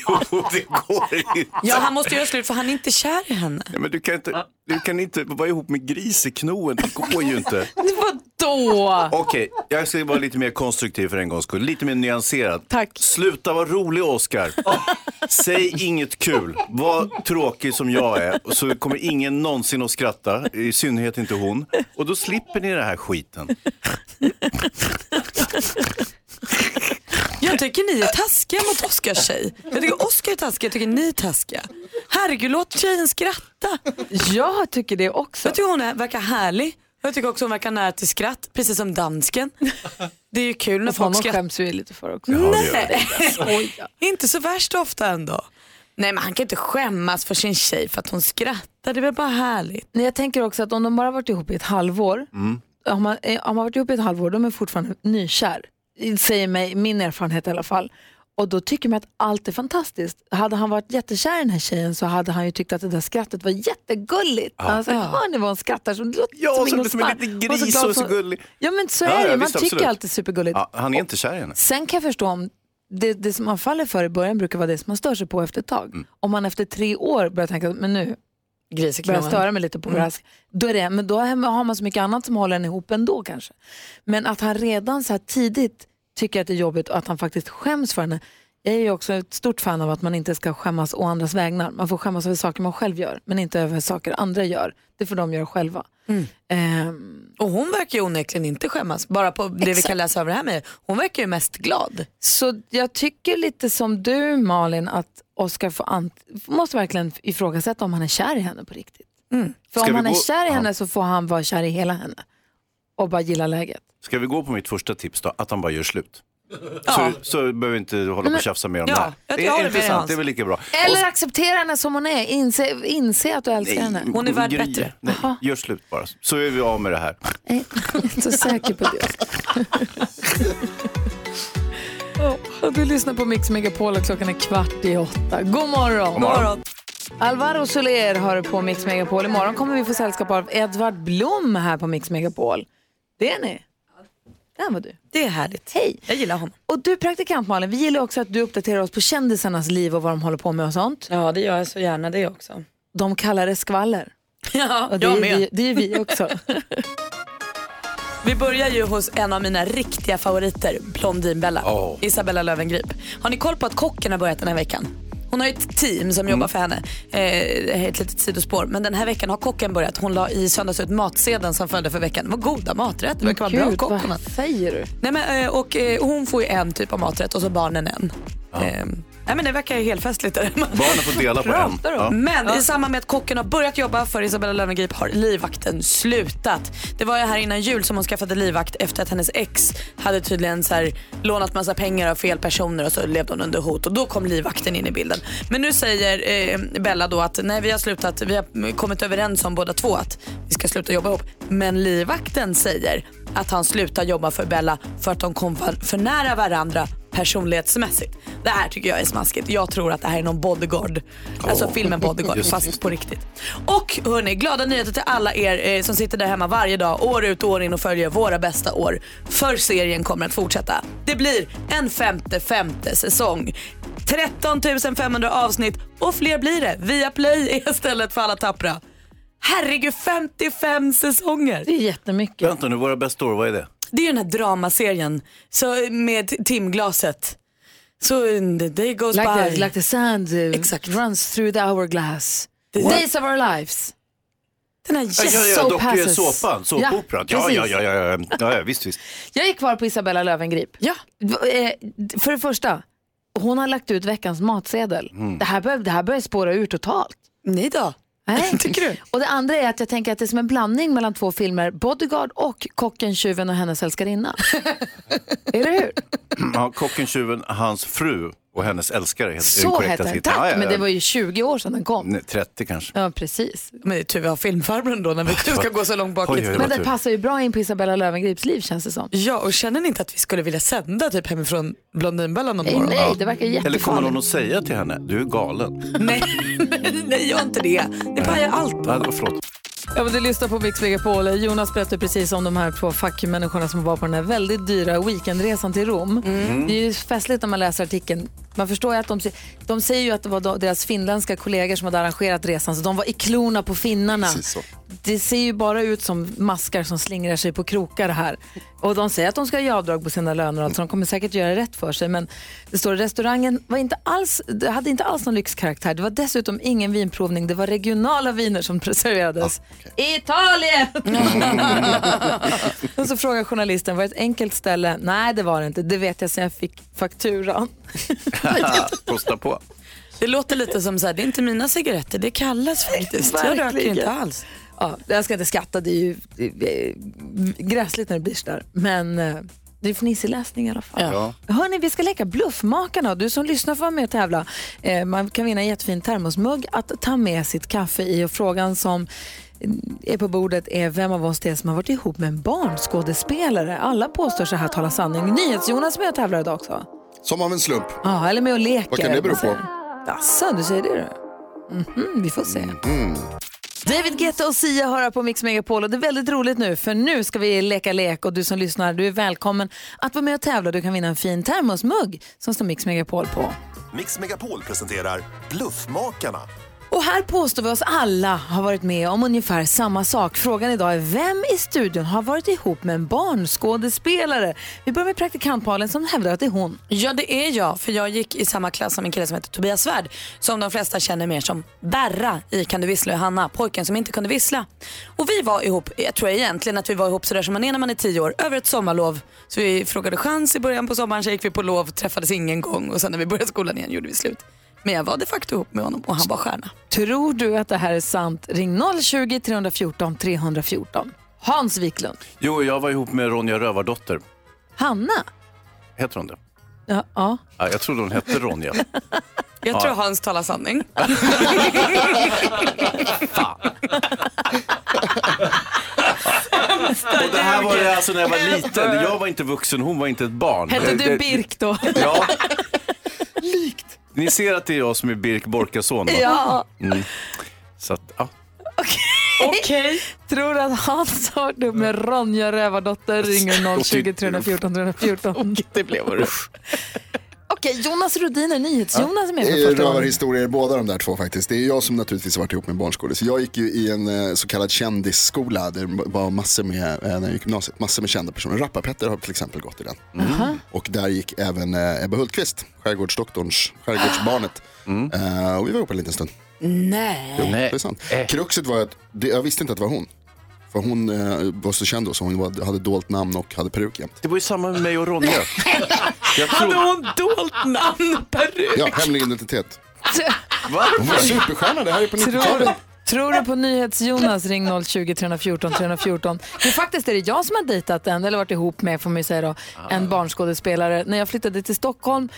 [SPEAKER 3] jo, det [LAUGHS] går inte.
[SPEAKER 4] Ja, han måste göra slut för han är inte kär i henne.
[SPEAKER 3] Nej, men du kan inte, du kan inte vara ihop med griseknoen. Det går ju inte.
[SPEAKER 1] Vadå?
[SPEAKER 3] Okej, jag ska vara lite mer konstruktiv för en gångs skull. Lite mer nyanserad.
[SPEAKER 1] Tack.
[SPEAKER 3] Sluta vara rolig, Oscar. Säg inget kul. Var tråkig som jag är, och så kommer ingen någonsin att skratta. I synnerhet inte hon. Och då slipper ni den här skiten.
[SPEAKER 4] Jag tycker ni är taskiga mot Oskars tjej. Jag tycker Oskar är taskig, jag tycker ni är taskiga. Herregud, låt tjejen skratta.
[SPEAKER 1] Jag tycker det också.
[SPEAKER 4] Jag tycker hon är, verkar härlig. Jag tycker också hon verkar nära till skratt, precis som dansken. Det är ju kul när
[SPEAKER 1] Och honom
[SPEAKER 4] folk skrattar.
[SPEAKER 1] skäms vi lite för också.
[SPEAKER 4] Nej, [LAUGHS] inte så värst ofta ändå. Nej men han kan inte skämmas för sin tjej för att hon skrattar, det är väl bara härligt.
[SPEAKER 1] Nej, Jag tänker också att om de bara varit ihop i ett halvår
[SPEAKER 3] Mm.
[SPEAKER 1] har man, eh, har man varit ihop i ett halvår, de är fortfarande nykär. Säger mig, min erfarenhet i alla fall. Och då tycker man att allt är fantastiskt. Hade han varit jättekär i den här tjejen så hade han ju tyckt att det där skrattet var jättegulligt.
[SPEAKER 3] Ja.
[SPEAKER 1] Han sa, hör ni vad hon skrattar? Så det låter
[SPEAKER 3] Ja,
[SPEAKER 1] som
[SPEAKER 3] så
[SPEAKER 1] ingen
[SPEAKER 3] låter som en
[SPEAKER 1] spark."
[SPEAKER 3] liten
[SPEAKER 1] Hon var
[SPEAKER 3] gris
[SPEAKER 1] glad
[SPEAKER 3] och så
[SPEAKER 1] som-
[SPEAKER 3] gullig.
[SPEAKER 1] Ja men så
[SPEAKER 3] Ja,
[SPEAKER 1] är
[SPEAKER 3] ja,
[SPEAKER 1] det, man
[SPEAKER 3] visst,
[SPEAKER 1] tycker
[SPEAKER 3] absolut.
[SPEAKER 1] allt är supergulligt.
[SPEAKER 3] Ja, han är inte kär i henne.
[SPEAKER 1] Sen kan jag förstå om det, det som man faller för i början brukar vara det som man stör sig på efter ett tag. Om man efter tre år börjar tänka, men nu börjar jag störa mig lite på mm. då är det, Men då har man så mycket annat som håller en ihop ändå kanske. Men att han redan så här tidigt tycker att det är jobbigt och att han faktiskt skäms för henne. Jag är ju också ett stort fan av att man inte ska skämmas å andras vägnar. Man får skämmas över saker man själv gör, men inte över saker andra gör. Det får de göra själva.
[SPEAKER 4] Ehm, Och hon verkar ju onekligen inte skämmas, bara på det vi
[SPEAKER 1] Exakt.
[SPEAKER 4] kan läsa över det här med. Hon verkar ju mest glad.
[SPEAKER 1] Så jag tycker lite som du Malin att Oskar får ant- måste verkligen ifrågasätta om han är kär i henne på riktigt. Mm. För
[SPEAKER 3] Ska
[SPEAKER 1] om
[SPEAKER 3] vi
[SPEAKER 1] han är
[SPEAKER 3] gå-
[SPEAKER 1] kär i
[SPEAKER 3] Ja.
[SPEAKER 1] henne så får han vara kär i hela henne och bara gilla läget.
[SPEAKER 3] Ska vi gå på mitt första tips då? Att han bara gör slut. Så, så behöver vi inte hålla på och tjafsa mer om
[SPEAKER 1] Ja,
[SPEAKER 3] det här.
[SPEAKER 1] jag
[SPEAKER 3] Det
[SPEAKER 1] håller
[SPEAKER 3] är
[SPEAKER 1] med dig,
[SPEAKER 3] intressant,
[SPEAKER 1] Hans.
[SPEAKER 3] det är väl lika bra.
[SPEAKER 1] Eller acceptera henne som hon är. Inse, inse att du älskar henne.
[SPEAKER 3] Gry, Nej, gör slut bara. Så är vi av med det här.
[SPEAKER 1] Nej, jag är inte så säker på det. Ja, Du lyssnar på Mix Megapol och klockan är kvart i åtta. God morgon!
[SPEAKER 5] God morgon.
[SPEAKER 1] Alvaro Soler har på Mix Megapol. Imorgon kommer vi få sällskap av Edvard Blom här på Mix Megapol. Det är ni. Där var du. Det är härligt. Hej. Jag gillar honom. Och du praktikant Malin, vi gillar också att du uppdaterar oss på kändisarnas liv och vad de håller på med och sånt.
[SPEAKER 4] Ja, det gör jag så gärna det också.
[SPEAKER 1] De kallar det skvaller.
[SPEAKER 4] Ja,
[SPEAKER 1] och det
[SPEAKER 4] jag
[SPEAKER 1] är
[SPEAKER 4] med.
[SPEAKER 1] Vi, det är vi [LAUGHS] också.
[SPEAKER 4] Vi börjar ju hos en av mina riktiga favoriter, Blondinbella. Isabella Löwengrip. Har ni koll på att kocken har börjat den här veckan? Hon har ju ett team som
[SPEAKER 3] Mm.
[SPEAKER 4] jobbar för henne. Eh, det här är ett litet sidospår. Men den här veckan har kocken börjat. Hon la i söndags ut matsedeln som följde för veckan. Vad goda maträtter. Det verkar vara en
[SPEAKER 1] Gud,
[SPEAKER 4] bra kock. hon har.
[SPEAKER 1] vad säger du?
[SPEAKER 4] Nej, men, eh, och, eh, hon får ju en typ av maträtt och så barnen en. Eh, nej, men det verkar ju helt festligt. där hemma.
[SPEAKER 3] Barnen får dela på en.
[SPEAKER 4] Pratar om. Men i samband med att kocken har börjat jobba för Isabella Löwengrip har livvakten slutat. Det var ju här innan jul som hon skaffade livvakt efter att hennes ex hade tydligen så här, lånat massa pengar av fel personer och så levde hon under hot och då kom livvakten in i bilden. Men nu säger eh, Bella då att nej vi har slutat, vi har kommit överens om båda två att vi ska sluta jobba ihop. Men livvakten säger att han slutar jobba för Bella för att de kom för- för nära varandra personlighetsmässigt. Det här tycker jag är smaskigt. Jag tror att det här är någon bodyguard. Alltså filmen Bodyguard,
[SPEAKER 5] Just
[SPEAKER 4] fast på riktigt. Och hörni, glada nyheter till alla er eh, som sitter där hemma varje dag, år ut och år in och följer våra bästa år. För serien kommer att fortsätta. Det blir en femte femte säsong. 13 500 avsnitt och fler blir det. Via Play är stället för alla tappra. Herregud, 55 säsonger!
[SPEAKER 1] Det är jättemycket.
[SPEAKER 3] Vänta nu, våra bästa år, vad är det?
[SPEAKER 4] Det är ju den här dramaserien så med timglaset. Så mm, the day goes
[SPEAKER 1] Like
[SPEAKER 4] by.
[SPEAKER 1] the, like the sand eh, runs through the hourglass.
[SPEAKER 4] What?
[SPEAKER 1] Days of our lives.
[SPEAKER 4] Den här
[SPEAKER 3] Ja, ja, ja,
[SPEAKER 1] so
[SPEAKER 3] dock, eh,
[SPEAKER 1] passes.
[SPEAKER 3] såpan, såpoperan. Ja,
[SPEAKER 1] precis.
[SPEAKER 3] ja, ja, ja, ja, ja, ja,
[SPEAKER 1] [CLEARS THROAT]
[SPEAKER 3] visst, visst.
[SPEAKER 1] Jag är kvar på Isabella Löwengrip. eh,
[SPEAKER 4] Ja.
[SPEAKER 1] För det första, hon har lagt ut veckans matsedel.
[SPEAKER 5] Mm.
[SPEAKER 1] Det, här bör, det här börjar spåra ur totalt.
[SPEAKER 4] Nej då.
[SPEAKER 1] Nej. Tycker du? Och det andra är att jag tänker att det är som en blandning mellan två filmer, Bodyguard och Kocken, tjuven och
[SPEAKER 3] [LAUGHS]
[SPEAKER 1] hennes älskarinna.
[SPEAKER 3] Ja, kocken, tjuven, hans fru och hennes älskare. helt- är den
[SPEAKER 1] Så
[SPEAKER 3] korrekta
[SPEAKER 1] hette den,
[SPEAKER 3] titeln.
[SPEAKER 1] tack.
[SPEAKER 3] Ja, ja,
[SPEAKER 1] Men det
[SPEAKER 3] ja.
[SPEAKER 1] var ju 20 år sedan den kom.
[SPEAKER 3] Nej, 30 kanske.
[SPEAKER 1] Ja, precis.
[SPEAKER 4] Men det är tur vi har filmfarbrorn
[SPEAKER 3] [LAUGHS]
[SPEAKER 4] då när vi
[SPEAKER 3] det
[SPEAKER 4] ska
[SPEAKER 3] var-
[SPEAKER 4] gå så långt
[SPEAKER 3] Oj,
[SPEAKER 4] bak i
[SPEAKER 3] oj, oj,
[SPEAKER 4] tiden.
[SPEAKER 3] vad
[SPEAKER 1] Men det passar ju bra in på Isabella Lövengrips liv känns det som.
[SPEAKER 4] Ja, och känner ni inte att vi skulle vilja sända typ hemifrån Blondinbella någon
[SPEAKER 1] Nej,
[SPEAKER 4] morgon?
[SPEAKER 1] nej, det verkar jättefarligt.
[SPEAKER 3] Eller kommer någon att säga till henne, du är galen?
[SPEAKER 4] Nej, [LAUGHS] nej, gör inte det. Det pajar allt.
[SPEAKER 3] Ja, det var-
[SPEAKER 1] [LAUGHS]
[SPEAKER 3] förlåt. [LAUGHS]
[SPEAKER 1] Ja, men du lyssnar på Mix Megapol. Jonas berättade precis om de här två fackmänniskorna som var på den här väldigt dyra weekendresan till Rom. Det är ju festligt när man läser artikeln. Man förstår ju att de, se- de säger ju att det var de- deras finländska kollegor som hade arrangerat resan, så de var i klorna på finnarna.
[SPEAKER 5] Precis så.
[SPEAKER 1] Det ser ju bara ut som maskar som slingrar sig på krokar här. Och de säger att de ska göra avdrag på sina löner och allt, så de kommer säkert göra rätt för sig. Men det står restaurangen var inte alls, det hade inte alls någon lyxkaraktär. Det var dessutom ingen vinprovning. Det var regionala viner som serverades. Italien! och så frågar journalisten, var det ett enkelt ställe? Nej, det var det inte. Det vet jag sen jag fick fakturan.
[SPEAKER 3] Kosta på.
[SPEAKER 4] [LAUGHS] Det låter lite som så här, det är inte mina cigaretter, det kallas faktiskt. Jag röker
[SPEAKER 1] Verkligen.
[SPEAKER 4] inte alls.
[SPEAKER 1] Ja, jag ska inte skratta, det är ju eh, det är gräsligt när det blir sådär. Men eh, det är fnissig läsning i alla fall.
[SPEAKER 5] Ja.
[SPEAKER 1] Hörni, vi ska leka Bluffmakarna. Du som lyssnar får vara med och tävla. Eh, man kan vinna en jättefin termosmugg att ta med sitt kaffe i. Och frågan som är på bordet är vem av oss det är som har varit ihop med en barnskådespelare. Alla påstår sig här tala sanning. NyhetsJonas är med och tävlar idag också.
[SPEAKER 16] Som av en slump.
[SPEAKER 1] Ja, eller med och leker.
[SPEAKER 16] Vad kan det bero på?
[SPEAKER 1] Jaså, du säger det du? Mhm, vi får se.
[SPEAKER 15] Mm-hmm.
[SPEAKER 1] David Guetta och Sia hör här på Mix Megapol och det är väldigt roligt nu för nu ska vi leka lek och du som lyssnar du är välkommen att vara med och tävla. Du kan vinna en fin termosmugg som står Mix Megapol på.
[SPEAKER 17] Mix Megapol presenterar Bluffmakarna.
[SPEAKER 1] Och här påstår vi oss alla ha varit med om ungefär samma sak. Frågan idag är vem i studion har varit ihop med en barnskådespelare? Vi börjar med praktikantpalen som hävdar att det är hon.
[SPEAKER 4] Ja, det är jag. För jag gick i samma klass som en kille som heter Tobias Svärd. Som de flesta känner mer som Berra i Kan du vissla Johanna? Pojken som inte kunde vissla. Och vi var ihop, jag tror egentligen att vi var ihop sådär som man är när man är tio år, över ett sommarlov. Så vi frågade chans i början på sommaren, så gick vi på lov, träffades ingen gång och sen när vi började skolan igen gjorde vi slut. Men jag var de facto ihop med honom och han var stjärna.
[SPEAKER 1] Tror du att det här är sant? Ring 020 314 314. Hans Wiklund.
[SPEAKER 3] Jo, jag var ihop med Ronja Rövardotter.
[SPEAKER 1] Hanna.
[SPEAKER 3] Heter hon det?
[SPEAKER 1] Ja, ja.
[SPEAKER 3] Ja, jag trodde hon hette Ronja.
[SPEAKER 12] Jag
[SPEAKER 3] Ja.
[SPEAKER 12] tror Hans talar sanning.
[SPEAKER 3] Och det här var det alltså när jag var liten. Jag var inte vuxen, hon var inte ett barn.
[SPEAKER 1] Hette
[SPEAKER 3] Det- det-
[SPEAKER 1] du Birk då?
[SPEAKER 3] Ja. Ni ser att det är jag som är Birk Borkason va?
[SPEAKER 1] Ja.
[SPEAKER 3] Mm. Så att, ja.
[SPEAKER 1] Okej. Tror du att Hans har det med Ronja Rövardotter ringer 020 314 314.
[SPEAKER 16] Det blev det.
[SPEAKER 1] Okej, Jonas Rhodiner, NyhetsJonas är med
[SPEAKER 16] Det
[SPEAKER 1] för
[SPEAKER 16] är
[SPEAKER 1] första gången.
[SPEAKER 16] rövarhistorier båda de där två faktiskt. Det är jag som naturligtvis har varit ihop med barnskolor. Så jag gick ju i en eh, så kallad kändisskola. Där det var massor med, eh, när jag gick i gymnasiet, massor med kända personer. Rappar-Petter har till exempel gått i den.
[SPEAKER 3] Mm.
[SPEAKER 16] Och där gick även eh, Ebbe Hultqvist, skärgårdsdoktorns, skärgårdsbarnet.
[SPEAKER 3] Mm.
[SPEAKER 16] Eh, och vi var ihop en liten stund.
[SPEAKER 4] Nej.
[SPEAKER 16] Jo, det är sant. Kruxet var ju att det, jag visste inte att det var hon. För hon eh, var så känd då, så hon var, hade dolt namn och hade peruk jämt.
[SPEAKER 3] Det var ju samma med mig och Ronja.
[SPEAKER 16] Jag
[SPEAKER 12] Hade hon dolt namn och peruk?
[SPEAKER 16] Ja, hemlig identitet. Hon var superstjärna, det här är på
[SPEAKER 1] Tror
[SPEAKER 16] 90-talet.
[SPEAKER 1] du, tror du på NyhetsJonas ring 020 314 314. Men faktiskt är det jag som har dejtat en, eller varit ihop med får man ju säga då,
[SPEAKER 16] Ah.
[SPEAKER 1] en barnskådespelare. När jag flyttade till Stockholm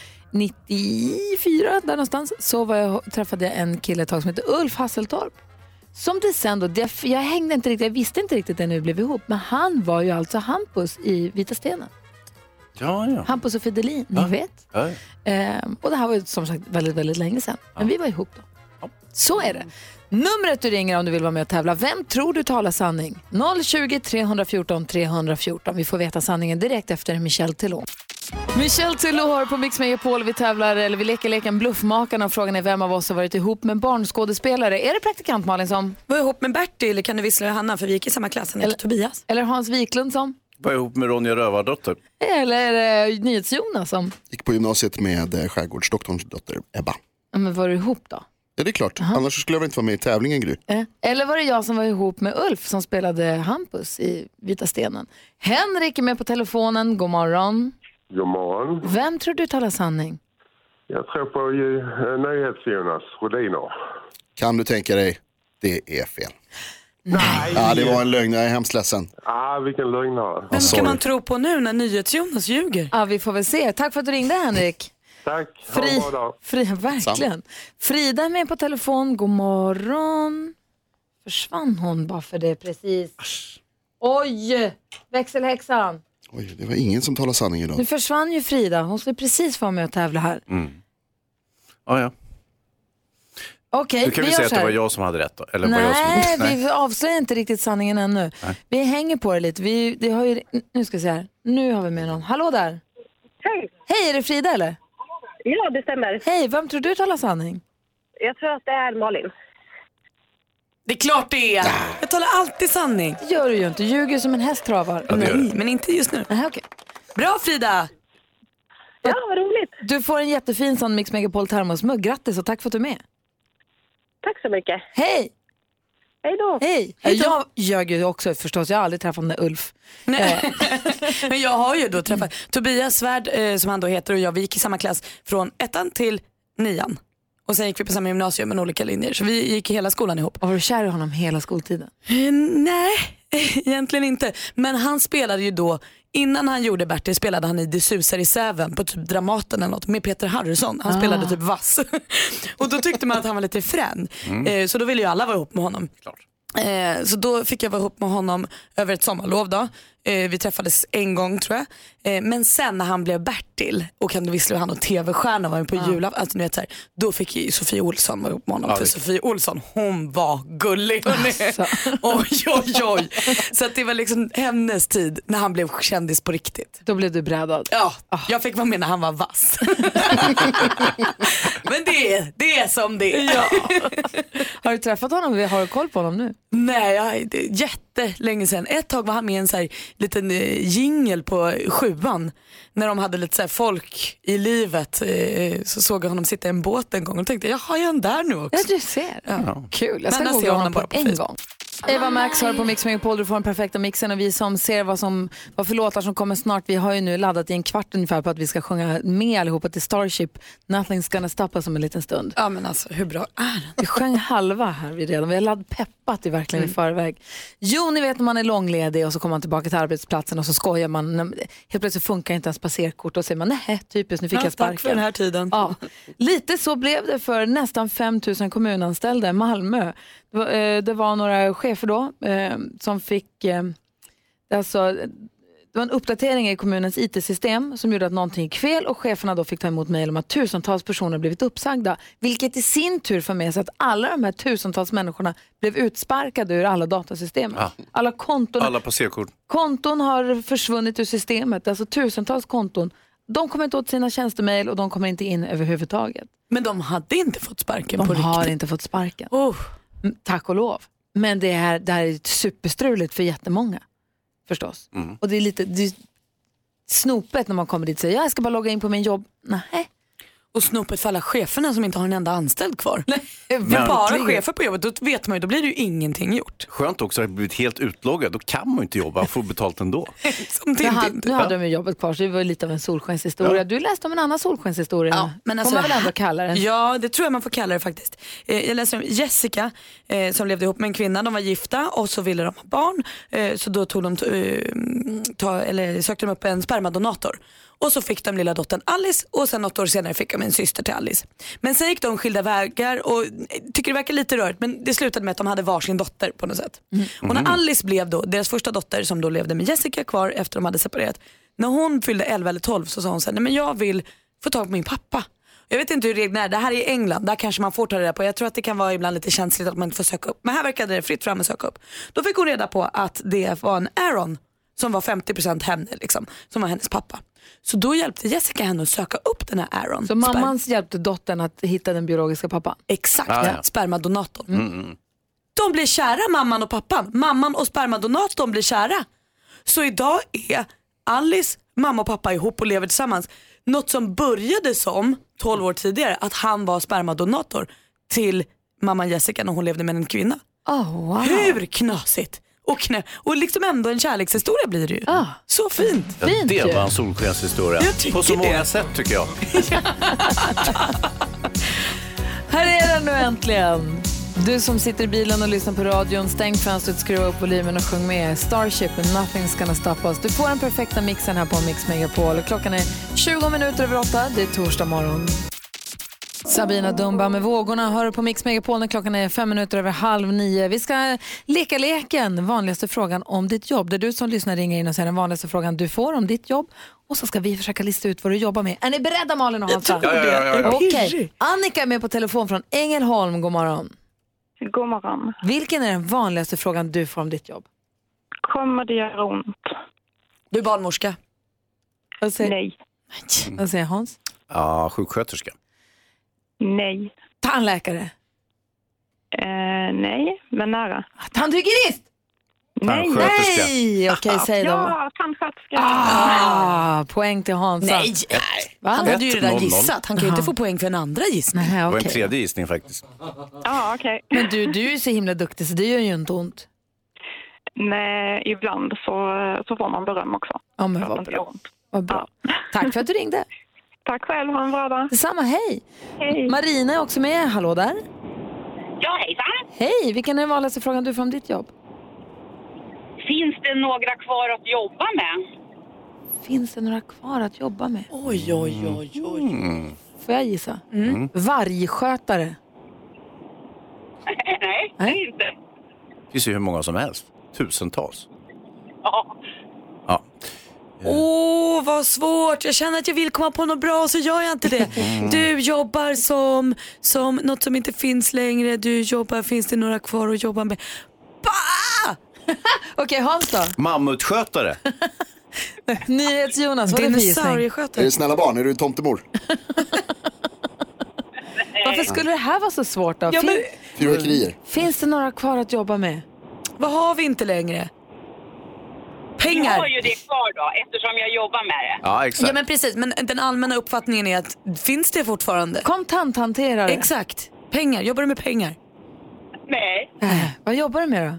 [SPEAKER 1] 94, där någonstans, så var jag, träffade jag en kille ett tag som hette Ulf Hasseltorp. Som det sen då, jag, jag hängde inte riktigt, jag visste inte riktigt när vi blev ihop, men han var ju alltså Hampus i Vita stenen.
[SPEAKER 3] Ja, ja.
[SPEAKER 1] Hampus och Fidelin, ni vet.
[SPEAKER 3] Ja, ja.
[SPEAKER 1] Ehm, och det här var ju som sagt väldigt, väldigt länge sedan. Men vi var ihop då. Så är det. Numret du ringer om du vill vara med och tävla. Vem tror du talar sanning? 020 314 314. Vi får veta sanningen direkt efter Michel Telon. Michel Tello har på Mix Megapol. Vi tävlar, eller vi leker leken Bluffmakarna och frågan är vem av oss har varit ihop med en barnskådespelare. Är det praktikant Malin som?
[SPEAKER 4] Var ihop med Bertil, kan du vissla och Hanna, för vi gick i samma klass, han heter Tobias.
[SPEAKER 1] Eller Hans Wiklund som?
[SPEAKER 3] Var ihop med Ronja Rövardotter.
[SPEAKER 1] Eller är det NyhetsJonas som?
[SPEAKER 16] Gick på gymnasiet med eh, skärgårdsdoktorns dotter Ebba.
[SPEAKER 1] Ja, Men var du ihop då?
[SPEAKER 16] Ja, det är klart. Annars skulle jag väl inte vara med i tävlingen, Gry.
[SPEAKER 1] Eh, Eller var det jag som var ihop med Ulf som spelade Hampus i Vita stenen? Henrik är med på telefonen. God morgon.
[SPEAKER 18] God morgon.
[SPEAKER 1] Vem tror du talar sanning?
[SPEAKER 18] Jag tror på eh, NyhetsJonas Rhodiner.
[SPEAKER 16] Kan du tänka dig? Det är fel.
[SPEAKER 4] Nej.
[SPEAKER 16] Ja, det var en lögn. Jag är hemskt ledsen.
[SPEAKER 18] Ah, vilken lögnare.
[SPEAKER 4] Vem ska
[SPEAKER 16] sorry.
[SPEAKER 4] man tro på nu när NyhetsJonas ljuger?
[SPEAKER 1] Ja, vi får väl se. Tack för att du ringde Henrik.
[SPEAKER 18] Tack,
[SPEAKER 1] Fri, fri, verkligen. Frida är med på telefon. God morgon. Försvann hon bara för det precis? Oj, växelhäxan.
[SPEAKER 16] Oj, det var ingen som talade sanning
[SPEAKER 1] Nu
[SPEAKER 16] idag.
[SPEAKER 1] försvann ju Frida. Hon skulle precis vara med och tävla här.
[SPEAKER 3] Mm. Ja, ja.
[SPEAKER 1] Okej,
[SPEAKER 3] Nu kan
[SPEAKER 1] vi
[SPEAKER 3] vi
[SPEAKER 1] gör
[SPEAKER 3] säga att
[SPEAKER 1] så
[SPEAKER 3] det
[SPEAKER 1] här.
[SPEAKER 3] var jag som hade rätt då. Eller var jag
[SPEAKER 1] Nej,
[SPEAKER 3] som... [LAUGHS]
[SPEAKER 1] vi avslöjar inte riktigt sanningen ännu.
[SPEAKER 3] Nej.
[SPEAKER 1] Vi hänger på det lite. Vi, det har ju, nu ska vi se här. Nu har vi med någon. Hallå där! Hej! Hej, är det Frida eller? Ja, det stämmer. Hej, vem tror du talar sanning?
[SPEAKER 19] Jag tror att det är Malin.
[SPEAKER 4] Det är klart det är. Jag talar alltid sanning.
[SPEAKER 1] Det gör du ju inte. Ljuger som en häst travar.
[SPEAKER 4] Ja, det gör du. Nej, men inte just nu.
[SPEAKER 1] Aha, okay.
[SPEAKER 4] Bra Frida!
[SPEAKER 1] Ja, vad roligt. Du får en jättefin sån Mix Megapol termosmugg. Grattis och tack för att du är med.
[SPEAKER 19] Tack så mycket.
[SPEAKER 1] Hej!
[SPEAKER 19] Hej då!
[SPEAKER 1] Hej! Jag ljög ju också förstås. Jag har aldrig träffat den där Ulf.
[SPEAKER 4] Eh, [LAUGHS] Men jag har ju då träffat Tobias Svärd eh, som han då heter och jag, vi gick i samma klass från ettan till nian. Och sen gick vi på samma gymnasium men olika linjer så vi gick hela skolan ihop.
[SPEAKER 1] Och var du kär i honom hela skoltiden?
[SPEAKER 4] Eh, nej, [LAUGHS] egentligen inte. Men han spelade ju då, innan han gjorde Bertil spelade han i Det susar i Säven på typ Dramaten eller något med Peter Harrison. Han
[SPEAKER 12] Ah.
[SPEAKER 4] spelade typ vass. [LAUGHS] och då tyckte man att han var lite frän.
[SPEAKER 12] Mm.
[SPEAKER 4] Eh, så då ville ju alla vara ihop med honom. Eh, så då fick jag vara ihop med honom över ett sommarlov. Då. Eh, vi träffades en gång tror jag. Eh, men sen när han blev Bertil och kan du vissla hur han och tv-stjärna var ju på
[SPEAKER 12] Ah.
[SPEAKER 4] julafton. Alltså, ni vet, så här, då fick ju Sofie Olsson vara ihop med honom.
[SPEAKER 12] Ja,
[SPEAKER 4] för
[SPEAKER 12] det-
[SPEAKER 4] Sofie Olsson hon var gullig. hörni.
[SPEAKER 1] Alltså.
[SPEAKER 4] [LAUGHS] oj oj oj. Så att det var liksom hennes tid när han blev kändis på riktigt.
[SPEAKER 1] Då blev du brädad? Ah.
[SPEAKER 4] Ja, jag fick vara med när han var
[SPEAKER 1] [LAUGHS]
[SPEAKER 4] vass. men det är, det är som det är.
[SPEAKER 1] Har du träffat honom? Har du koll på honom nu?
[SPEAKER 4] Nej, jag, det är jättelänge sedan. Ett tag var han med i en så här, liten eh, jingel på sjuan. När de hade lite så här, folk i livet eh, så såg jag honom sitta i en båt en gång och tänkte jaha är han där nu också?
[SPEAKER 1] Ja du ser.
[SPEAKER 4] Ja.
[SPEAKER 1] Kul, jag ska
[SPEAKER 4] Men
[SPEAKER 1] googla
[SPEAKER 4] ser jag
[SPEAKER 1] honom på en
[SPEAKER 4] Facebook.
[SPEAKER 1] gång. Eva Max har på Mix Megapol, du får den perfekta mixen och vi som ser vad, som, vad för låtar som kommer snart, vi har ju nu laddat i en kvart ungefär på att vi ska sjunga med allihopa till Starship, Nothing's gonna stop us om en liten stund.
[SPEAKER 4] Ja men alltså hur bra är den?
[SPEAKER 1] Vi sjöng halva här vi redan, vi har ladd peppat i verkligen i
[SPEAKER 4] Mm.
[SPEAKER 1] förväg. Jo, ni vet när man är långledig och så kommer man tillbaka till arbetsplatsen och så skojar man. Helt plötsligt funkar inte ens passerkort och säger man nej, typiskt, nu fick
[SPEAKER 4] Ja,
[SPEAKER 1] jag
[SPEAKER 4] tack
[SPEAKER 1] sparken.
[SPEAKER 4] för den här tiden.
[SPEAKER 1] Ja. Lite så blev det för nästan 5 000 kommunanställda i Malmö. Det var, eh, det var några chefer då eh, som fick, eh, alltså, det var en uppdatering i kommunens IT-system som gjorde att någonting gick fel och cheferna då fick ta emot mejl om att tusentals personer blivit uppsagda. Vilket i sin tur för med sig att alla de här tusentals människorna blev utsparkade ur alla datasystem.
[SPEAKER 3] Ja.
[SPEAKER 1] Alla konton
[SPEAKER 3] Alla passerkort.
[SPEAKER 1] Konton har försvunnit ur systemet, alltså tusentals konton. De kommer inte åt sina tjänstemejl och de kommer inte in överhuvudtaget.
[SPEAKER 4] Men de hade inte fått sparken
[SPEAKER 1] de
[SPEAKER 4] på riktigt.
[SPEAKER 1] har inte fått sparken.
[SPEAKER 4] Oh.
[SPEAKER 1] Mm, Tack och lov. Men det här, det här är superstruligt för jättemånga, förstås. Och det är lite det är snopet när man kommer dit och säger jag ska bara logga in på min jobb. Nej.
[SPEAKER 4] Och snopet för alla cheferna som inte har en enda anställd kvar. Det
[SPEAKER 3] Men-
[SPEAKER 4] är bara chefer på jobbet, då vet man ju, då blir det ju ingenting gjort.
[SPEAKER 3] Skönt också att ha blivit helt utloggad. Då kan man ju inte jobba och får betalt ändå.
[SPEAKER 1] Nu hade,
[SPEAKER 4] typ.
[SPEAKER 3] Tintin.
[SPEAKER 1] nu hade de ju jobbet kvar så det var ju lite av en solskenshistoria.
[SPEAKER 3] Ja.
[SPEAKER 1] Du läste om en annan solskenshistoria. Ja,
[SPEAKER 4] Men alltså,
[SPEAKER 1] får man väl ändå kalla den.
[SPEAKER 4] Ja, det tror jag man får kalla det faktiskt. Eh, jag läser om Jessica eh, som levde ihop med en kvinna, de var gifta och så ville de ha barn. Eh, så då tog de, eh, ta, eller sökte de upp en spermadonator. Och så fick de lilla dottern Alice och sen något år senare fick de en syster till Alice. Men sen gick de skilda vägar och eh, tycker det verkar lite rörigt men det slutade med att de hade varsin dotter på något sätt. Och när Alice blev då, deras första dotter som då levde med Jessica kvar efter de hade separerat. När hon fyllde 11 eller 12 så sa hon så här, nej men jag vill få tag på min pappa. Jag vet inte hur reglerna är, det här är i England, där kanske man får ta reda på. Jag tror att det kan vara ibland lite känsligt att man inte får söka upp. Men här verkade det fritt fram att söka upp. Då fick hon reda på att det var en Aaron som var 50% henne, liksom, som var hennes pappa. Så då hjälpte Jessica henne att söka upp den här Aaron.
[SPEAKER 1] Så mamman hjälpte dottern att hitta den biologiska pappan?
[SPEAKER 4] Exakt,
[SPEAKER 1] Ah,
[SPEAKER 4] ja. Mm,
[SPEAKER 1] ja.
[SPEAKER 4] spermadonatorn.
[SPEAKER 1] Mm.
[SPEAKER 4] De blir kära mamman och pappan. Mamman och spermadonatorn blir kära. Så idag är Alice mamma och pappa ihop och lever tillsammans. Något som började som 12 år tidigare att han var spermadonator till mamman Jessica när hon levde med en kvinna.
[SPEAKER 1] Oh, wow.
[SPEAKER 4] Hur knasigt? Och, knä- och liksom ändå en kärlekshistoria blir det ju.
[SPEAKER 1] Ah.
[SPEAKER 4] Så fint.
[SPEAKER 3] Ja, det var en solskenshistoria. På så många sätt tycker jag.
[SPEAKER 1] Här är den nu äntligen! Du som sitter i bilen och lyssnar på radion, stäng fönstret, skruva upp volymen och sjung med. Starship, Nothing's gonna stop us. Du får den perfekta mixen här på Mix Megapol. Klockan är 20 minuter över 8, det är torsdag morgon. Sabina Dumba med vågorna hör du på Mix Megapol när klockan är fem minuter över halv nio. Vi ska leka leken, vanligaste frågan om ditt jobb. Det är du som lyssnar ringer in och säger den vanligaste frågan du får om ditt jobb. Och så ska vi försöka lista ut vad du jobbar med. Är ni beredda Malin och
[SPEAKER 20] Jag
[SPEAKER 1] Hansa?
[SPEAKER 20] tror det. Ja, ja, ja, ja.
[SPEAKER 1] Okej. Annika är med på telefon från Ängelholm. God morgon.
[SPEAKER 15] God morgon.
[SPEAKER 1] Vilken är den vanligaste frågan du får om ditt jobb?
[SPEAKER 15] Kommer det göra ont?
[SPEAKER 4] Du är barnmorska.
[SPEAKER 1] Vad säger,
[SPEAKER 15] Nej.
[SPEAKER 1] Vad säger Hans?
[SPEAKER 3] Ja, sjuksköterska.
[SPEAKER 15] Nej.
[SPEAKER 1] Tandläkare?
[SPEAKER 15] Eh, nej, men nära.
[SPEAKER 1] Tandhygienist!
[SPEAKER 15] Nej. Ah,
[SPEAKER 3] Tandsköterska.
[SPEAKER 1] Nej! Okej, säg då.
[SPEAKER 15] Ja, tandsköterska.
[SPEAKER 1] Ah, poäng till Hansa.
[SPEAKER 4] Nej.
[SPEAKER 1] Va?
[SPEAKER 4] Han hade ju
[SPEAKER 3] Ett,
[SPEAKER 4] redan
[SPEAKER 3] noll, noll.
[SPEAKER 4] gissat. Han kan ju inte
[SPEAKER 1] Aha.
[SPEAKER 4] få poäng för en andra gissning.
[SPEAKER 1] Nej,
[SPEAKER 3] Det var en
[SPEAKER 1] okej.
[SPEAKER 3] tredje gissning faktiskt.
[SPEAKER 15] Ja, okej.
[SPEAKER 1] Men du, du är ju så himla duktig så det gör ju inte ont.
[SPEAKER 15] Nej, ibland så, så får man beröm också.
[SPEAKER 1] Ja,
[SPEAKER 15] För
[SPEAKER 1] men
[SPEAKER 15] att
[SPEAKER 1] vad
[SPEAKER 15] det inte
[SPEAKER 1] bra.
[SPEAKER 15] gör ont.
[SPEAKER 1] Vad bra. Tack för att
[SPEAKER 15] [LAUGHS]
[SPEAKER 1] du ringde.
[SPEAKER 15] Tack själv, ha en bra dag.
[SPEAKER 1] Detsamma, hej. Marina är också med. Hallå där.
[SPEAKER 15] Ja, hejsan.
[SPEAKER 1] Hej, vilken är den vanligaste frågan du får om ditt jobb?
[SPEAKER 15] Finns det några kvar att jobba med?
[SPEAKER 1] Finns det några kvar att jobba med?
[SPEAKER 4] Oj, oj, oj, oj.
[SPEAKER 1] Får jag gissa? Mm. Vargskötare.
[SPEAKER 15] Nej,
[SPEAKER 1] det [LAUGHS]
[SPEAKER 15] är inte.
[SPEAKER 3] Det finns ju hur många som helst. Tusentals.
[SPEAKER 15] Ja.
[SPEAKER 3] Ja.
[SPEAKER 4] Åh, vad svårt. Jag känner att jag vill komma på något bra så gör jag inte det.
[SPEAKER 3] Mm.
[SPEAKER 4] Du jobbar som, som något som inte finns längre. Du jobbar, finns det några kvar att jobba med? [LAUGHS]
[SPEAKER 1] Okej, Hans då?
[SPEAKER 3] Mammutskötare.
[SPEAKER 1] NyhetsJonas, vad är Alltså, det för gissning?
[SPEAKER 16] Är det Eh, snälla barn? Är du tomtemor?
[SPEAKER 1] Varför skulle det här vara så svårt då?
[SPEAKER 4] Ja, men-
[SPEAKER 1] Fin-
[SPEAKER 16] Fyrverkerier?
[SPEAKER 1] Finns det några kvar att jobba med?
[SPEAKER 4] Vad har vi inte längre?
[SPEAKER 14] Jag har ju det kvar då, eftersom jag jobbar med det.
[SPEAKER 3] Ja,
[SPEAKER 4] Ja, men precis. Men den allmänna uppfattningen är att finns det fortfarande?
[SPEAKER 1] Kontanthanterare.
[SPEAKER 4] Exakt. Pengar. Jobbar du med pengar?
[SPEAKER 14] Nej,
[SPEAKER 1] Äh, Vad jobbar du med då?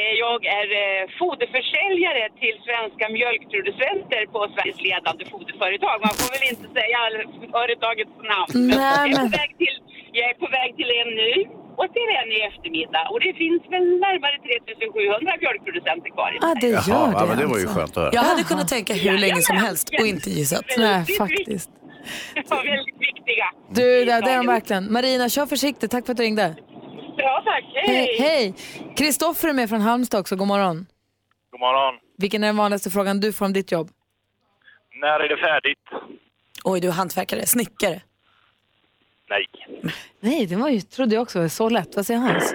[SPEAKER 14] eh, jag är eh, foderförsäljare till svenska mjölkproducenter på Sveriges ledande foderföretag. Man får väl inte säga all- företagets namn.
[SPEAKER 1] Nej,
[SPEAKER 14] jag, är
[SPEAKER 1] men-
[SPEAKER 14] på väg till, jag är på väg till en ny
[SPEAKER 15] Och till en i eftermiddag. Och det finns väl närmare 3700 mjölkproducenter kvar i
[SPEAKER 1] Ja, det gör
[SPEAKER 3] Jaha,
[SPEAKER 1] det
[SPEAKER 3] ja, men det var ju
[SPEAKER 1] alltså.
[SPEAKER 3] skönt att höra.
[SPEAKER 4] Jag hade kunnat tänka hur länge som helst och inte gissat.
[SPEAKER 1] Nej, faktiskt.
[SPEAKER 14] [LAUGHS]
[SPEAKER 15] Det var väldigt viktiga.
[SPEAKER 1] Du, det, det är de verkligen. Marina, kör försiktigt. Tack för att du ringde.
[SPEAKER 15] Bra, tack. Hej!
[SPEAKER 1] Hej! Hej! Kristoffer är med från Halmstad också. God morgon.
[SPEAKER 21] God morgon.
[SPEAKER 1] Vilken är den vanligaste frågan du får om ditt jobb?
[SPEAKER 21] När är det färdigt?
[SPEAKER 4] Oj, du är hantverkare, snickare.
[SPEAKER 21] Nej.
[SPEAKER 1] Nej, det var ju, trodde jag också var så lätt. Vad säger Hans?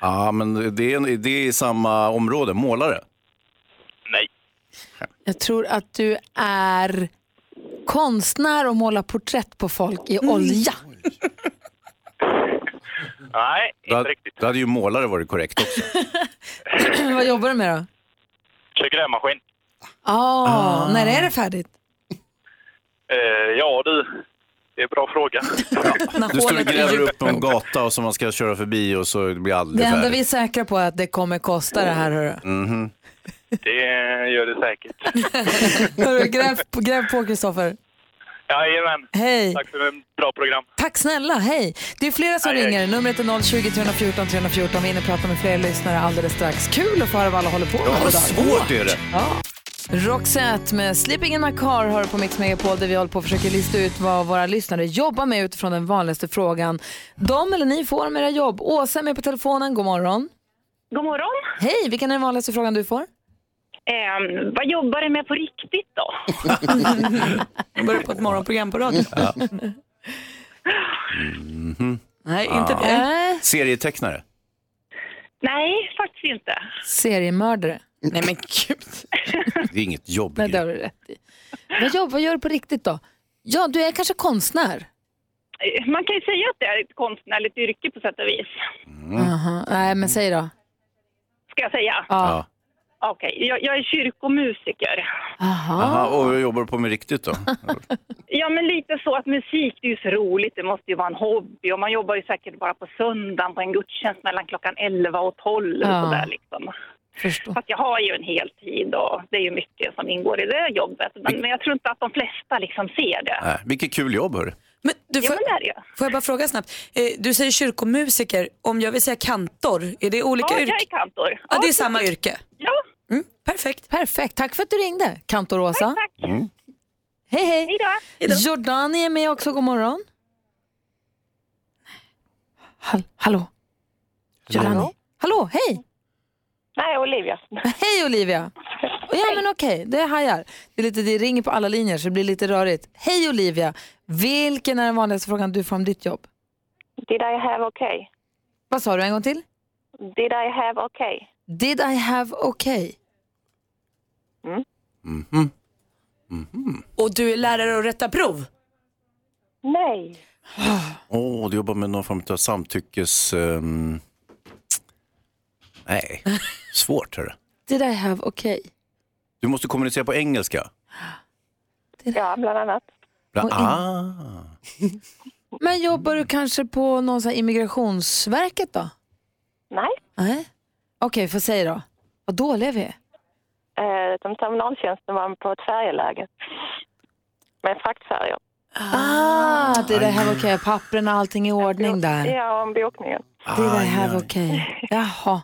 [SPEAKER 3] Ja, men det är, det är i samma område, målare.
[SPEAKER 1] Jag tror att du är konstnär och målar porträtt på folk i olja.
[SPEAKER 21] Nej,
[SPEAKER 3] inte riktigt. Då hade ju målare varit korrekt också.
[SPEAKER 1] [CLEARS THROAT] Vad jobbar du med då?
[SPEAKER 21] Kör grävmaskin.
[SPEAKER 1] Ah, När är det färdigt?
[SPEAKER 21] Eh, ja du, det är en bra fråga.
[SPEAKER 3] Du står och gräver upp en gata och som man ska köra förbi och så blir det
[SPEAKER 1] Det
[SPEAKER 3] aldrig
[SPEAKER 1] enda
[SPEAKER 3] färdigt.
[SPEAKER 1] vi är säkra på är att det kommer kosta det här. [LAUGHS] Hörru.
[SPEAKER 3] Mhm.
[SPEAKER 21] Det gör det säkert.
[SPEAKER 1] hörru gräv, gräv på Kristoffer.
[SPEAKER 21] Jajamän.
[SPEAKER 1] Hej.
[SPEAKER 21] Tack för ett bra program.
[SPEAKER 1] Tack snälla, hej! Det är flera som
[SPEAKER 21] Hej,
[SPEAKER 1] ringer.
[SPEAKER 21] hej.
[SPEAKER 1] Numret är 020 314 314. Vi hinner prata med fler lyssnare alldeles strax. Kul att få höra vad alla håller på med.
[SPEAKER 3] Ja, vad
[SPEAKER 1] idag.
[SPEAKER 3] svårt är det.
[SPEAKER 1] Roxette med Sleeping in my car hör på Mix Megapol där vi håller på och försöker lista ut vad våra lyssnare jobbar med utifrån den vanligaste frågan. De eller ni får om era jobb. Åsa är med på telefonen. God morgon.
[SPEAKER 15] God morgon.
[SPEAKER 1] Hej, vilken är den vanligaste frågan du får?
[SPEAKER 15] Ehm, vad jobbar du med på riktigt då?
[SPEAKER 4] Jag börjar på ett morgonprogram på radio.
[SPEAKER 3] Ja. Mhm.
[SPEAKER 1] Nej,
[SPEAKER 4] inte det.
[SPEAKER 3] Serietecknare.
[SPEAKER 15] Nej, faktiskt inte.
[SPEAKER 1] Seriemördare.
[SPEAKER 4] Nej men gud.
[SPEAKER 3] Det är inget jobb.
[SPEAKER 1] [LAUGHS] Nej, det har du rätt i. Vad, jobb, vad gör du på riktigt då? Ja, du är kanske konstnär.
[SPEAKER 15] Eh, Man kan ju säga att det är ett konstnärligt yrke på sätt och vis.
[SPEAKER 4] Mm.
[SPEAKER 1] Aha. Nej, men säg då.
[SPEAKER 15] Ska jag säga?
[SPEAKER 1] Ja.
[SPEAKER 15] Okej, jag, jag är kyrkomusiker.
[SPEAKER 3] Aha, och vad jobbar du på med riktigt
[SPEAKER 1] [LAUGHS]
[SPEAKER 3] då?
[SPEAKER 15] Ja, men lite så att musik, det är ju så roligt. Det måste ju vara en hobby och man jobbar ju säkert bara på söndagen på en gudstjänst mellan klockan 11 och 12
[SPEAKER 1] Ja.
[SPEAKER 15] och sådär liksom.
[SPEAKER 1] Förstå.
[SPEAKER 15] Fast jag har ju en heltid och det är ju mycket som ingår i det jobbet. Men, men jag tror inte att de flesta liksom ser det.
[SPEAKER 3] Nej, vilket kul jobb hörru.
[SPEAKER 4] Du, får, får jag bara fråga snabbt? Eh, du säger kyrkomusiker, om jag vill säga kantor, är det olika
[SPEAKER 15] ja,
[SPEAKER 4] yrken?
[SPEAKER 15] jag är kantor.
[SPEAKER 4] Ja, det är samma yrke.
[SPEAKER 15] Ja.
[SPEAKER 4] Mm, perfekt.
[SPEAKER 1] Perfekt, tack för att du ringde, kantor Åsa.
[SPEAKER 3] Mm.
[SPEAKER 1] Hej, hej.
[SPEAKER 4] Hej då.
[SPEAKER 1] Jordani är med också, god morgon. Hall- hallå? Jordani? Hallå, hej!
[SPEAKER 15] Nej, Olivia.
[SPEAKER 1] [LAUGHS] Hej Olivia! Ja men okej, det är hajar. Det, är lite, det ringer på alla linjer så det blir lite rörigt. Hej Olivia! Vilken är den vanligaste frågan du får om ditt jobb?
[SPEAKER 22] Did I have okay?
[SPEAKER 1] Vad sa du en gång till?
[SPEAKER 22] Did I have okay?
[SPEAKER 1] Did I have okay?
[SPEAKER 3] Mhm.
[SPEAKER 4] Och du är lärare och rättar prov?
[SPEAKER 22] Nej.
[SPEAKER 3] Åh, du jobbar med någon form av samtyckes... ehm,
[SPEAKER 4] [LAUGHS]
[SPEAKER 3] Nej, svårt hörru.
[SPEAKER 1] Did I have okay?
[SPEAKER 3] Du måste kommunicera på engelska.
[SPEAKER 22] Ja, bland annat.
[SPEAKER 3] Bra.
[SPEAKER 1] Och in-
[SPEAKER 3] Ah.
[SPEAKER 1] Men jobbar du kanske på någon sån här immigrationsverket då?
[SPEAKER 22] Nej.
[SPEAKER 1] Nej. Okej, får säga då. Vad dåliga vi är.
[SPEAKER 22] Eh, som terminaltjänsten var på ett färjeläger. Med fraktfärjor.
[SPEAKER 1] Ah, det är det här okej. Pappren och allting i ordning där.
[SPEAKER 22] Ja, om bokningen.
[SPEAKER 1] Det är det här okej. Jaha.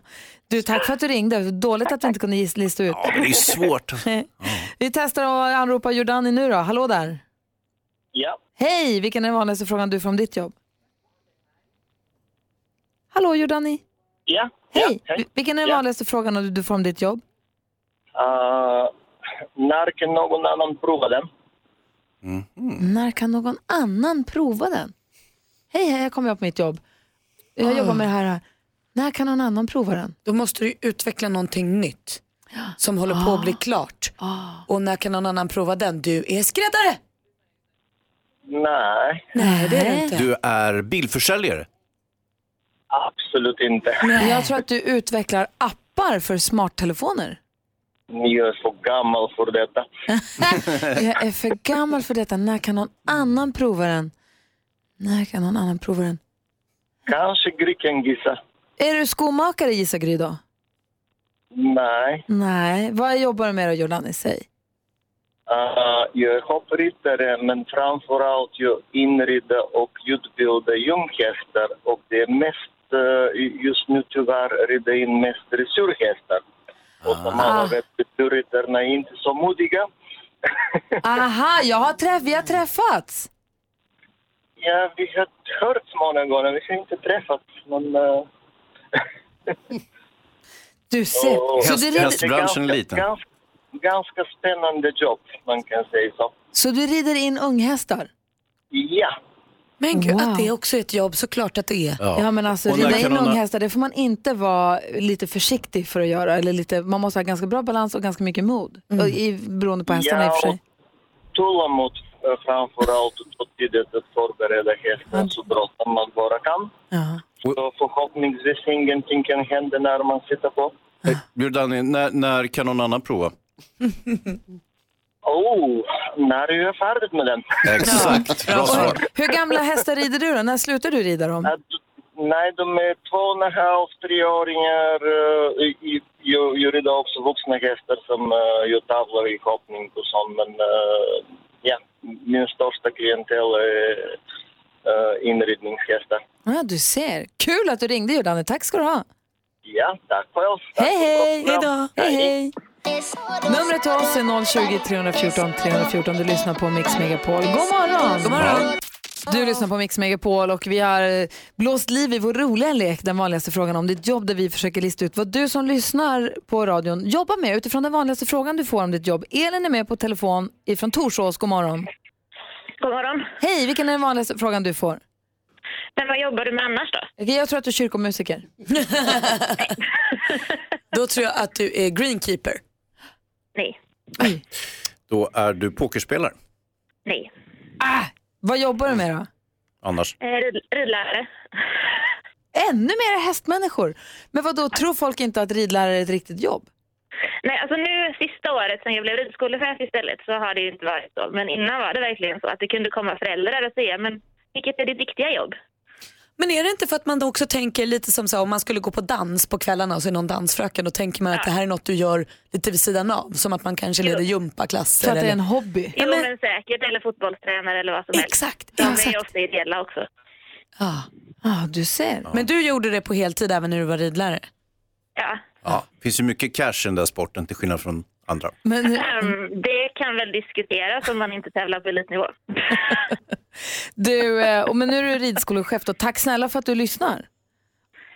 [SPEAKER 1] Du, tack för att du ringde. Dåligt att vi inte kunde gis- lista ut.
[SPEAKER 3] Ja, men det är svårt.
[SPEAKER 1] [LAUGHS] Vi testar att anropa Jordani nu då. Hallå där.
[SPEAKER 21] Ja.
[SPEAKER 1] Hej, vilken är den vanligaste frågan du får om ditt jobb? Hallå Jordani.
[SPEAKER 21] Ja.
[SPEAKER 1] Hej, Vi- vilken är den
[SPEAKER 21] Ja.
[SPEAKER 1] vanligaste frågan du du får om ditt jobb?
[SPEAKER 21] Uh, när kan någon annan prova den?
[SPEAKER 3] Mm.
[SPEAKER 1] När kan någon annan prova den? Hej, hej, jag kommer jag på mitt jobb. Jag
[SPEAKER 3] Ah.
[SPEAKER 1] jobbar med det här. När kan någon annan prova den?
[SPEAKER 4] Då måste du ju utveckla någonting nytt som håller på att
[SPEAKER 1] Ah.
[SPEAKER 4] bli klart. Och när kan någon annan prova den? Du är
[SPEAKER 15] [LAUGHS]
[SPEAKER 4] skräddare!
[SPEAKER 21] Nej,
[SPEAKER 4] Nej, det är det inte.
[SPEAKER 3] Du är bilförsäljare.
[SPEAKER 21] absolut inte.
[SPEAKER 1] Jag tror att du utvecklar appar för smarttelefoner.
[SPEAKER 21] Ni är så gammal för detta.
[SPEAKER 1] Jag är för gammal för detta. När kan någon annan prova den? När kan någon annan prova den?
[SPEAKER 21] Kanske greken gissa.
[SPEAKER 1] Är du skomakare gissar Gry då?
[SPEAKER 21] Nej,
[SPEAKER 1] Nej. Vad jobbar du med då Jordan i sig?
[SPEAKER 21] uh, jag är hoppryttare men framförallt jag inrider och utbildar junghästar och det är mest att eh, just nu tyvärr är det in mest dressyrhästar. Och som alla vet, dressyrryttarna är inte så modiga.
[SPEAKER 1] Aha, jag har träff, vi har träffats.
[SPEAKER 21] Ja, vi har hört många gånger, vi har inte träffats, men... eh,
[SPEAKER 1] Du ser.
[SPEAKER 21] och-
[SPEAKER 1] Så du, rider,
[SPEAKER 3] hästbranschen är liten.
[SPEAKER 21] Ganska, ganska spännande jobb, man kan säga så.
[SPEAKER 1] så du rider in unghästar?
[SPEAKER 21] Ja.
[SPEAKER 4] Men gud,
[SPEAKER 1] Wow.
[SPEAKER 4] att det är också är ett jobb, såklart att det är.
[SPEAKER 1] Ja, men alltså
[SPEAKER 4] Och när
[SPEAKER 1] rida in
[SPEAKER 4] kan hon ha-
[SPEAKER 1] unghästar, det får man inte vara lite försiktig för att göra. Eller lite, man måste ha ganska bra balans och ganska mycket mod.
[SPEAKER 4] Mm.
[SPEAKER 1] Och i, beroende på hästarna i och för sig.
[SPEAKER 21] och Tålamod eh, framför allt och tidigt att förbereda hästen så bra som man bara kan. Så förhoppningsvis ingenting kan hända när man sitter på.
[SPEAKER 3] Bjudani, när, när kan någon annan prova?
[SPEAKER 21] Oh, när är jag färdig med den?
[SPEAKER 3] Exakt, bra svar.
[SPEAKER 1] Hur gamla hästar rider du då? När slutar du rida dem?
[SPEAKER 21] Nej, de är två och en halv, treåringar. eh, i- i- Jag, jag rider också vuxna hästar som eh, gör tavlor i hoppning och sånt. Men eh, ja, min största klientel är eh, inridningshästar.
[SPEAKER 1] Ja, du ser. Kul att du ringde Jordanne, tack ska du ha.
[SPEAKER 21] Ja, tack själv.
[SPEAKER 1] Hej hej! Hejdå! Hej hej! Numret till oss är 020 314 314. Du lyssnar på Mix Megapol. God morgon! God morgon! Du lyssnar på Mix Megapol och vi har eh, blåst liv i vår roliga lek, den vanligaste frågan om ditt jobb där vi försöker lista ut vad du som lyssnar på radion jobbar med utifrån den vanligaste frågan du får om ditt jobb. Elin är med på telefon ifrån Torsås, god morgon.
[SPEAKER 6] God morgon.
[SPEAKER 1] Hej, vilken är den vanligaste frågan du får?
[SPEAKER 6] Men vad jobbar du med annars då?
[SPEAKER 1] Okej, Jag tror att du är kyrkomusiker.
[SPEAKER 4] Då tror jag att du är greenkeeper.
[SPEAKER 6] Nej.
[SPEAKER 3] Då är du pokerspelare
[SPEAKER 6] Nej.
[SPEAKER 1] Ah, Vad jobbar du med då?
[SPEAKER 3] annars.
[SPEAKER 6] Eh, rid- Ridlärare?
[SPEAKER 1] Ännu mer hästmänniskor. Men vad då tror folk inte att ridlärare är ett riktigt jobb?
[SPEAKER 6] Nej, alltså nu sista året sen jag blev ridskolechef istället så har det ju inte varit så. Men innan var det verkligen så att det kunde komma föräldrar och säga men vilket är ditt riktiga jobb?
[SPEAKER 4] Men är det inte för att man då också tänker lite som så här, om man skulle gå på dans på kvällarna och så är någon dansfröken, då tänker man att det här är något du gör lite vid sidan av. Som att man kanske leder gympaklasser.
[SPEAKER 6] Så att det är
[SPEAKER 4] eller-
[SPEAKER 6] en
[SPEAKER 1] hobby?
[SPEAKER 6] Jo men, säkert, eller fotbollstränare eller vad som helst. Exakt, De är ju ofta ideella också.
[SPEAKER 4] Ja,
[SPEAKER 1] ah, du ser.
[SPEAKER 4] Men du gjorde det på heltid även när du var ridlärare?
[SPEAKER 3] Ja, finns ju mycket cash i den där sporten till skillnad från andra.
[SPEAKER 6] Ehm, det kan väl diskuteras om man inte tävlar på elitnivå.
[SPEAKER 1] Du, eh, och men nu är du ridskolechef då. Tack snälla för att du lyssnar.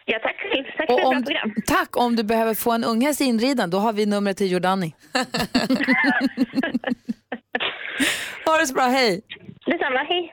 [SPEAKER 6] Ja, tack själv. Tack för
[SPEAKER 1] Och
[SPEAKER 6] ett bra
[SPEAKER 1] om,
[SPEAKER 6] program.
[SPEAKER 1] tack om du behöver få en unghäst inriden, då har vi numret till
[SPEAKER 6] [LAUGHS]
[SPEAKER 1] Jordani. ha det så bra, hej!
[SPEAKER 6] Detsamma, hej!